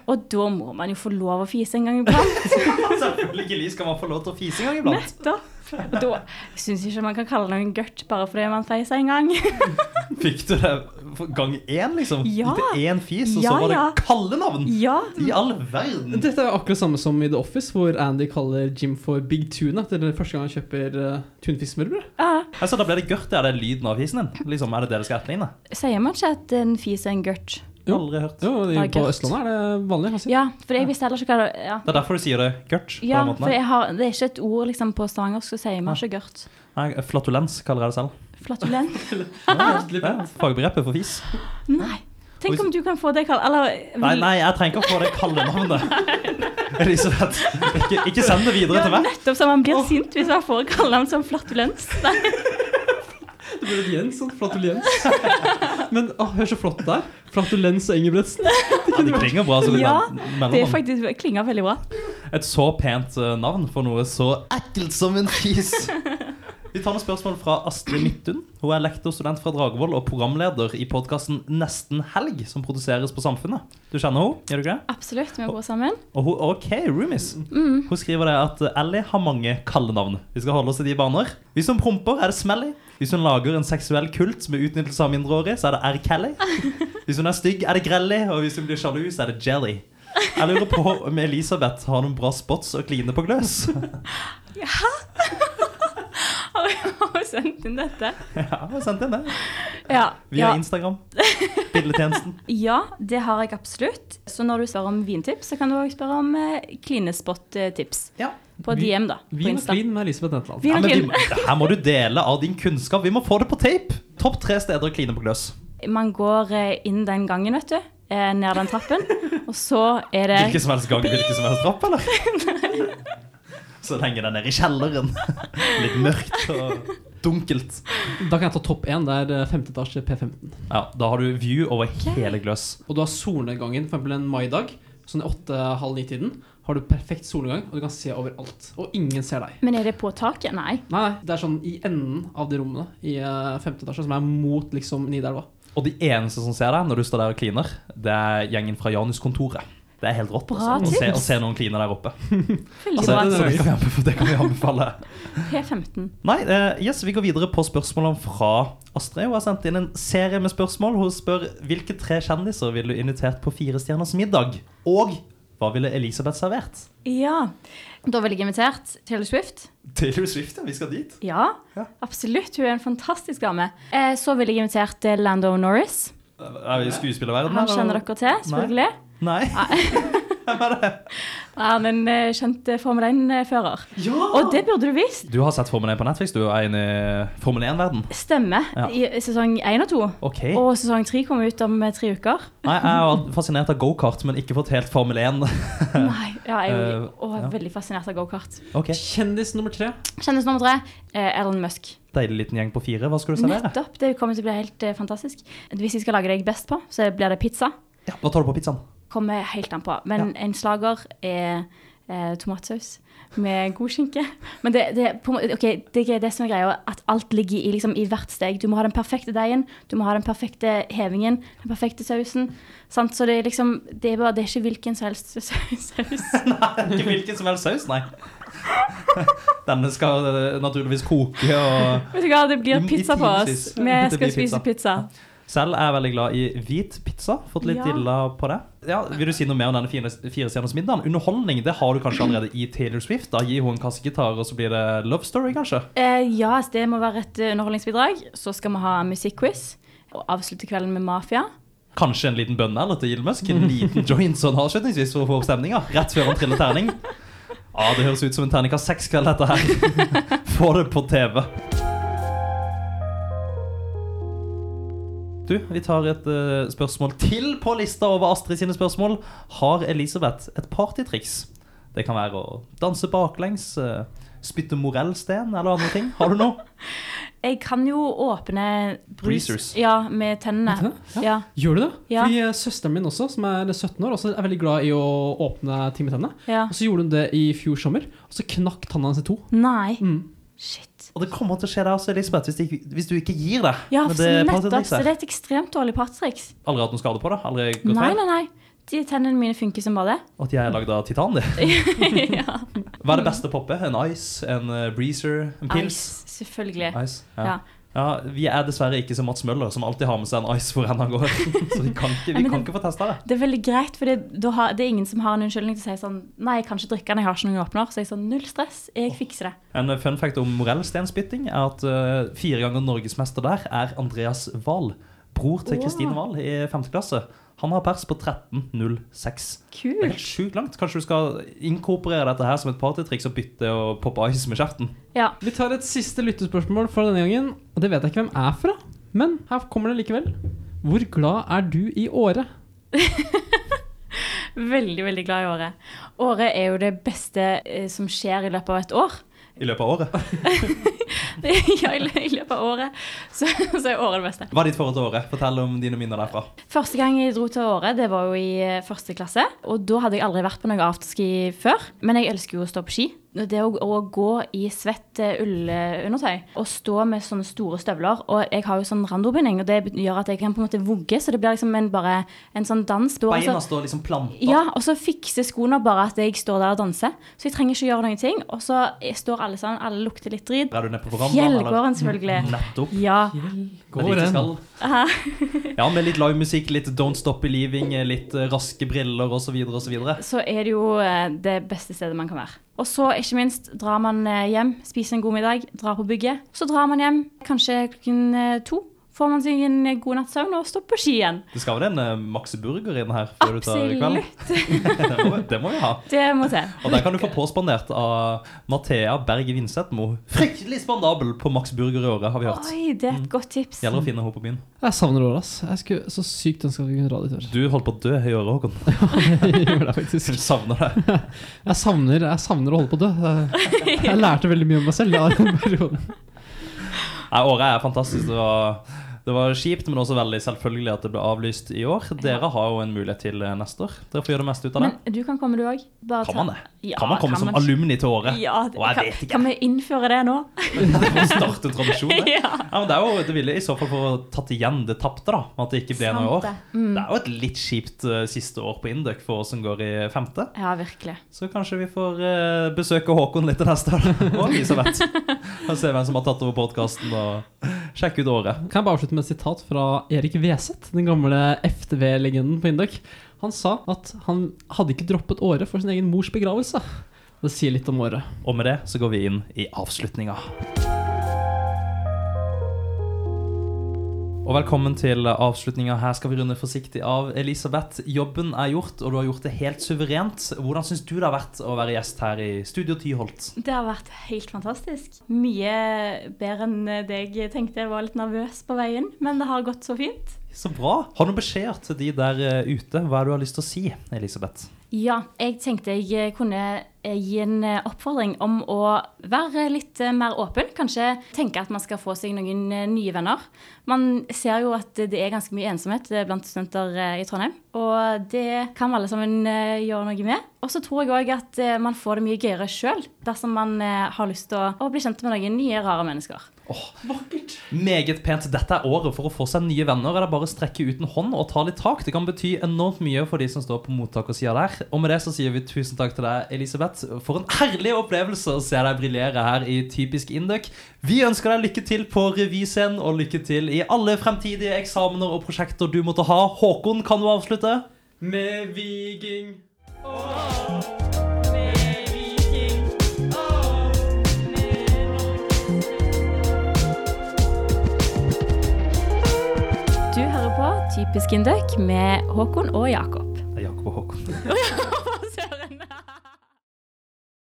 Og da må man jo få lov å fise en gang iblant. Selvfølgelig skal man få lov til å fise en gang iblant. Nettopp. Og da syns jeg ikke man kan kalle noen gørt bare fordi man feiser en gang. Fikk du det for gang én, liksom? Ja. Gikk det én fis, og Ja, så var det ja. kallenavn? Ja. I all verden! Dette er jo akkurat samme som i The Office, hvor Andy kaller Jim for Big Tuna. Det er den første gang han kjøper uh, tunfisksmørbrød. Ja. Altså, da ble det gørt, det er det lyden av fisen din? Liksom, er det det det skal etterligne? Sier man ikke at en fis er en gørt? Jo. Aldri hørt. Jo, i- Det er på Gørt. Østlandet er det vanlig. Man sier. Ja, for jeg visste heller ikke hva det ja. Det er derfor du sier det gørt? på Ja, den for måten. her. jeg har, det er ikke et ord liksom, på stavangersk som sier man ikke gørt. Nei, flatulens kaller jeg det selv. Flatulent. Ja, Fagbegrepet for fis. Nei. Tenk om du kan få det kalt Eller Nei, nei, jeg trenger ikke å få det kallenavnet. Elisabeth, ikke, ikke send det videre til Ja, meg. nettopp som man blir sint hvis man får kallenavn som flatulens. Nei, Det blir et Jens, sånn flatulens. Men å, hør så flott det er. Flatulens og Ingebrigtsen. Ja, det klinger bra som et Ja, navn- det er mellomnavn. faktisk det klinger veldig bra. Et så pent eh, navn for noe så ekkelt som en fis. Vi tar noen spørsmål fra Astrid Midtun. Hun er lektorstudent fra Dragvoll og programleder i podkasten Nesten helg, som produseres på Samfunnet. Du kjenner henne, gjør du ikke det? Absolutt, vi bor sammen. Og hun OK, roomies. Mm. Hun skriver det at Ellie har mange kallenavn. Vi skal holde oss til de baner. Hvis hun promper, er det Smelly. Hvis hun lager en seksuell kult med utnyttelse av mindreårige, så er det R. Kelly. Hvis hun er stygg, er det Grelly. Og hvis hun blir sjalu, så er det Jelly. Jeg lurer på om Elisabeth har noen bra spots å kline på gløs. Har vi- har vi sendt inn dette? Ja, jeg har sendt inn det. Ja, Via ja, Instagram. Bildetjenesten. ja, det har jeg absolutt. Så når du spør om vintips, så kan du òg spørre om eh, klinespot-tips. Ja. På Vi- DM, da. På Vin og Insta. klin med Elisabeth Netland. Vin Ja, og men klin. du, her må du dele av din kunnskap. Vi må få det på tape! Topp tre steder å kline på gløs. Man går eh, inn den gangen, vet du. eh, Ned den trappen. Og så er Hvilken det som helst gang, hvilken som helst trapp, eller? Så lenge den er i kjelleren. Litt mørkt og dunkelt. Da kan jeg ta topp én. Det er eh, femte etasje P15. Ja, da har du view over hele gløs. Og du har solnedgangen, for eksempel en maidag, sånn i åtte-halv ni-tiden. Har du perfekt solnedgang, og du kan se overalt. Og ingen ser deg. Men er det på taket? Nei. Nei, nei, det er sånn i enden av de rommene i eh, femte etasje, som er mot liksom Nidelva. Og de eneste som ser deg når du står der og kliner, det er gjengen fra Janus-kontoret. Det er helt rått Bra altså, å, se, tips. å se noen kline der oppe. Veldig Så, bra. så Altså, det kan vi anbefale- det kan vi anbefale. P15. Nei, eh, yes, vi går videre på spørsmålene fra Astrid. Hun har sendt inn en serie med spørsmål. Hun spør hvilke tre kjendiser ville du invitert på Fire stjerners middag? Og hva ville Elisabeth servert? Ja. Da vil jeg invitert Taylor Swift. Taylor Swift, ja. Vi skal dit. Ja, Ja. absolutt. Hun er en fantastisk dame. Eh, så ville jeg invitert eh, Lando Norris. Er vi i skuespillerverdenen? Han kjenner dere til, selvfølgelig. Nei. Hvem er det? Han er en eh, kjent eh, Formel 1-fører. Ja! Og det burde du visst. Du har sett Formel 1 på Netflix. Du er inne i Formel 1-verden. Stemmer. Ja. Eh. I sesong 1 og 2. OK. Og sesong 3 kommer ut om eh, tre uker. Nei, jeg var fascinert av gokart, men ikke fått helt Formel 1. Nei, ja, jeg er jo Eh, og, ja. veldig fascinert av gokart. OK. Kjendis nummer tre. Kjendis nummer tre, eh, Elon Musk. Deilig liten gjeng på fire. Hva skal du servere? Nettopp. Det kommer til å bli helt eh, fantastisk. Hvis jeg skal lage deg best på, så blir det pizza. Ja, hva tar du på pizzaen? Kommer helt an på. Men en slager er eh, tomatsaus med god skinke. Men det, det, er på, en måte- ok, det er det som er greia, at alt ligger i, liksom, i hvert steg. Du må ha den perfekte deigen, du må ha den perfekte hevingen, den perfekte sausen. Sant? Så det er liksom det er, bare, det er ikke hvilken som helst saus. saus. Ikke hvilken som helst saus, nei. Denne skal eh, naturligvis koke og Vet du hva, det I- blir i pizza på oss. timevis. Vi Det skal blir spise pizza. pizza. Selv er jeg veldig glad i hvit pizza. Fått litt Ja. dilla på det. Ja, Vil du si noe mer om denne fire, fire stjerners middagen? Underholdning det har du kanskje allerede i Taylor Swift. Da Gi hun en kasse gitar, og så blir det love story, kanskje? Eh, ja, altså, det må være et eh, underholdningsbidrag. Så skal vi ha musikkquiz. Og avslutte kvelden med Mafia. Kanskje en liten bønne eller til Elon Musk? En liten joint sånn avslutningsvis for å få opp stemninga? Rett før han triller terning? Ja, det høres ut som en terningkast seks-kveld, dette her. Få det på TV. Du, vi tar et eh, spørsmål til på lista over Astrid sine spørsmål. Har Elisabeth et partytriks? Det kan være å danse baklengs, eh, spytte morellsten eller andre ting. Har du noe? Jeg kan jo åpne brus Breezers. Ja, med tennene. Vet du det? Ja, Gjør du det? Ja. Fordi eh, søsteren min også, som er 17 år, også er veldig glad i å åpne ting med tennene. ja. Og så gjorde hun det i fjor sommer, og så knakk tanna hans i to. Nei. Mm. Shit. Og det kommer til å skje deg også, Elisabeth, hvis, det ikke, hvis du ikke gir deg. Ja, med for nettopp. partytrikset. Så det er et ekstremt dårlig partytriks. Aldri hatt noen skade på det? Aldri gått Nei, feil? nei, nei. De tennene mine funker som bare det. At jeg er lagd av titan, det? ja. Hva Mm. er det beste å poppe? En ice? En eh, breezer? En pils? Ice, selvfølgelig. Ice. Ja. Ja. ja, Vi er dessverre ikke som Mats Møller, som alltid har med seg en ice hvor enn han går. Så vi kan ikke, Ja, men vi det- kan ikke få testa det. Det er veldig greit, for det, da har, det er ingen som har en unnskyldning til å si sånn Nei, jeg kan ikke drikke den, jeg har ikke noen åpner. Så jeg er sånn Null stress, jeg fikser det. En eh, fun fact om morellstenspytting er at eh, fire ganger norgesmester der er Andreas Wahl. Bror til Wow. Kristine Wahl i femte klasse. Han har pers på 13.06. Det er Kult. helt sjukt langt. Kanskje du skal inkorporere dette her som et partytriks og bytte og poppe ice med kjeften? Ja. Vi tar et siste lyttespørsmål for denne gangen, og det vet jeg ikke hvem er fra. Men her kommer det likevel. Hvor glad er du i året? Veldig, veldig glad i året. Året er jo det beste eh, som skjer i løpet av et år. I løpet av året? ja, i lø- i løpet av året så, så er året det beste. Hva er ditt forhold til året? Fortell om dine minner derfra. Første gang jeg dro til året, det var jo i eh, første klasse. Og da hadde jeg aldri vært på noe afterski før. Men jeg elsker jo å stå på ski. Det å, å gå i svett eh, ullundertøy og stå med sånne store støvler. Og jeg har jo sånn randobinding, og det bet- gjør at jeg kan på en måte vugge. Så det blir liksom en, bare en sånn dans. Da, Beina altså- står liksom planta. ja, og så fikser skoene bare at jeg står der og danser. Så jeg trenger ikke gjøre noen ting. Og så eh, står alle sammen, alle lukter litt drit. Er du nede på verandaen? eller? Fjellgården, selvfølgelig. Nettopp. Ja. Det er dit du skal. Ja, med litt livemusikk, litt Don't Stop Believing, litt eh, raske briller osv. osv. så er det jo eh, det beste stedet man kan være. Og så, ikke minst, drar man eh, hjem, spiser en god middag, drar på bygget. Så drar man hjem kanskje klokken eh, to. Får man seg en eh, god natts søvn og står på ski igjen. Det skal vel en eh, Max Burger inn her før du tar Absolutt. eh, kveld? det, må vi, det må vi ha. Det må til. Og der kan du få påspandert av Mathea Berge Vinsethmo. Fryktelig spandabel på Max Burger i året, har vi hørt. Mm. Oi, det er et godt tips. Gjelder å finne henne på byen. Jeg savner året, ass. Jeg skulle så sykt ønske at vi kunne dra dit i år. Du holdt på å dø i året, Håkon. Jeg gjør det faktisk. Du savner det. Jeg savner, jeg savner å holde på å dø. Jeg- Jeg lærte veldig mye om meg selv da, i den perioden. Nei, året er fantastisk. Det var, det var kjipt, men også veldig selvfølgelig at det ble avlyst i år. Dere har jo en mulighet til eh, neste år. Dere får gjøre det meste ut av det. Men du kan komme, du òg. Kan man det? Kan man komme som alumni til året? Ja, Å, jeg kan, vet ikke. kan vi innføre det nå? Og starte en tradisjon? Det. Ja. Ja, men det, er jo, det ville i så fall få tatt igjen det tapte, da. Med at det ikke ble Sant noe i Mm. år. Det er jo et litt kjipt eh, siste år på Induc for oss som går i femte. Ja, virkelig. Så kanskje vi får eh, besøke Håkon litt til neste år. Og Elisabeth. Og se hvem som har tatt over podkasten, og sjekke ut året. Kan jeg bare avslutte med et sitat fra Erik Veseth, den gamle FTV-legenden på Induc. Han sa at han hadde ikke droppet året for sin egen mors begravelse. Det sier litt om året. Og med det så går vi inn i avslutninga. Og velkommen til avslutninga. Her skal vi runde forsiktig av. Elisabeth, jobben er gjort, og du har gjort det helt suverent. Hvordan syns du det har vært å være gjest her i Studio Tyholt? Det har vært helt fantastisk. Mye bedre enn det jeg tenkte. Jeg var litt nervøs på veien, men det har gått så fint. Så bra. Har du noen beskjeder til de der eh, ute? Hva er det du har lyst til å si, Elisabeth? Ja, jeg tenkte jeg kunne eh, gi en eh, oppfordring om å være litt eh, mer åpen. Kanskje tenke at man skal få seg noen eh, nye venner. Man ser jo at det er ganske mye ensomhet eh, blant studenter eh, i Trondheim, og det kan alle sammen eh, gjøre noe med. Og så tror jeg òg at eh, man får det mye gøyere sjøl dersom man eh, har lyst til å, å bli kjent med noen nye, rare mennesker. Meget pent. Dette er året for å få seg nye venner. Er det bare å strekke ut en hånd og ta litt tak. Det kan bety enormt mye for de som står på mottakersida der. Og med det så sier vi tusen takk til deg, Elisabeth. slett for en herlig opplevelse å se deg briljere her i Typisk Induc. Vi ønsker deg lykke til på revyscenen, og lykke til i alle fremtidige eksamener og prosjekter du måtte ha. Håkon, kan du avslutte? Med viking. Du hører på Typisk Indøk med Håkon og Jakob. Jakob og Håkon.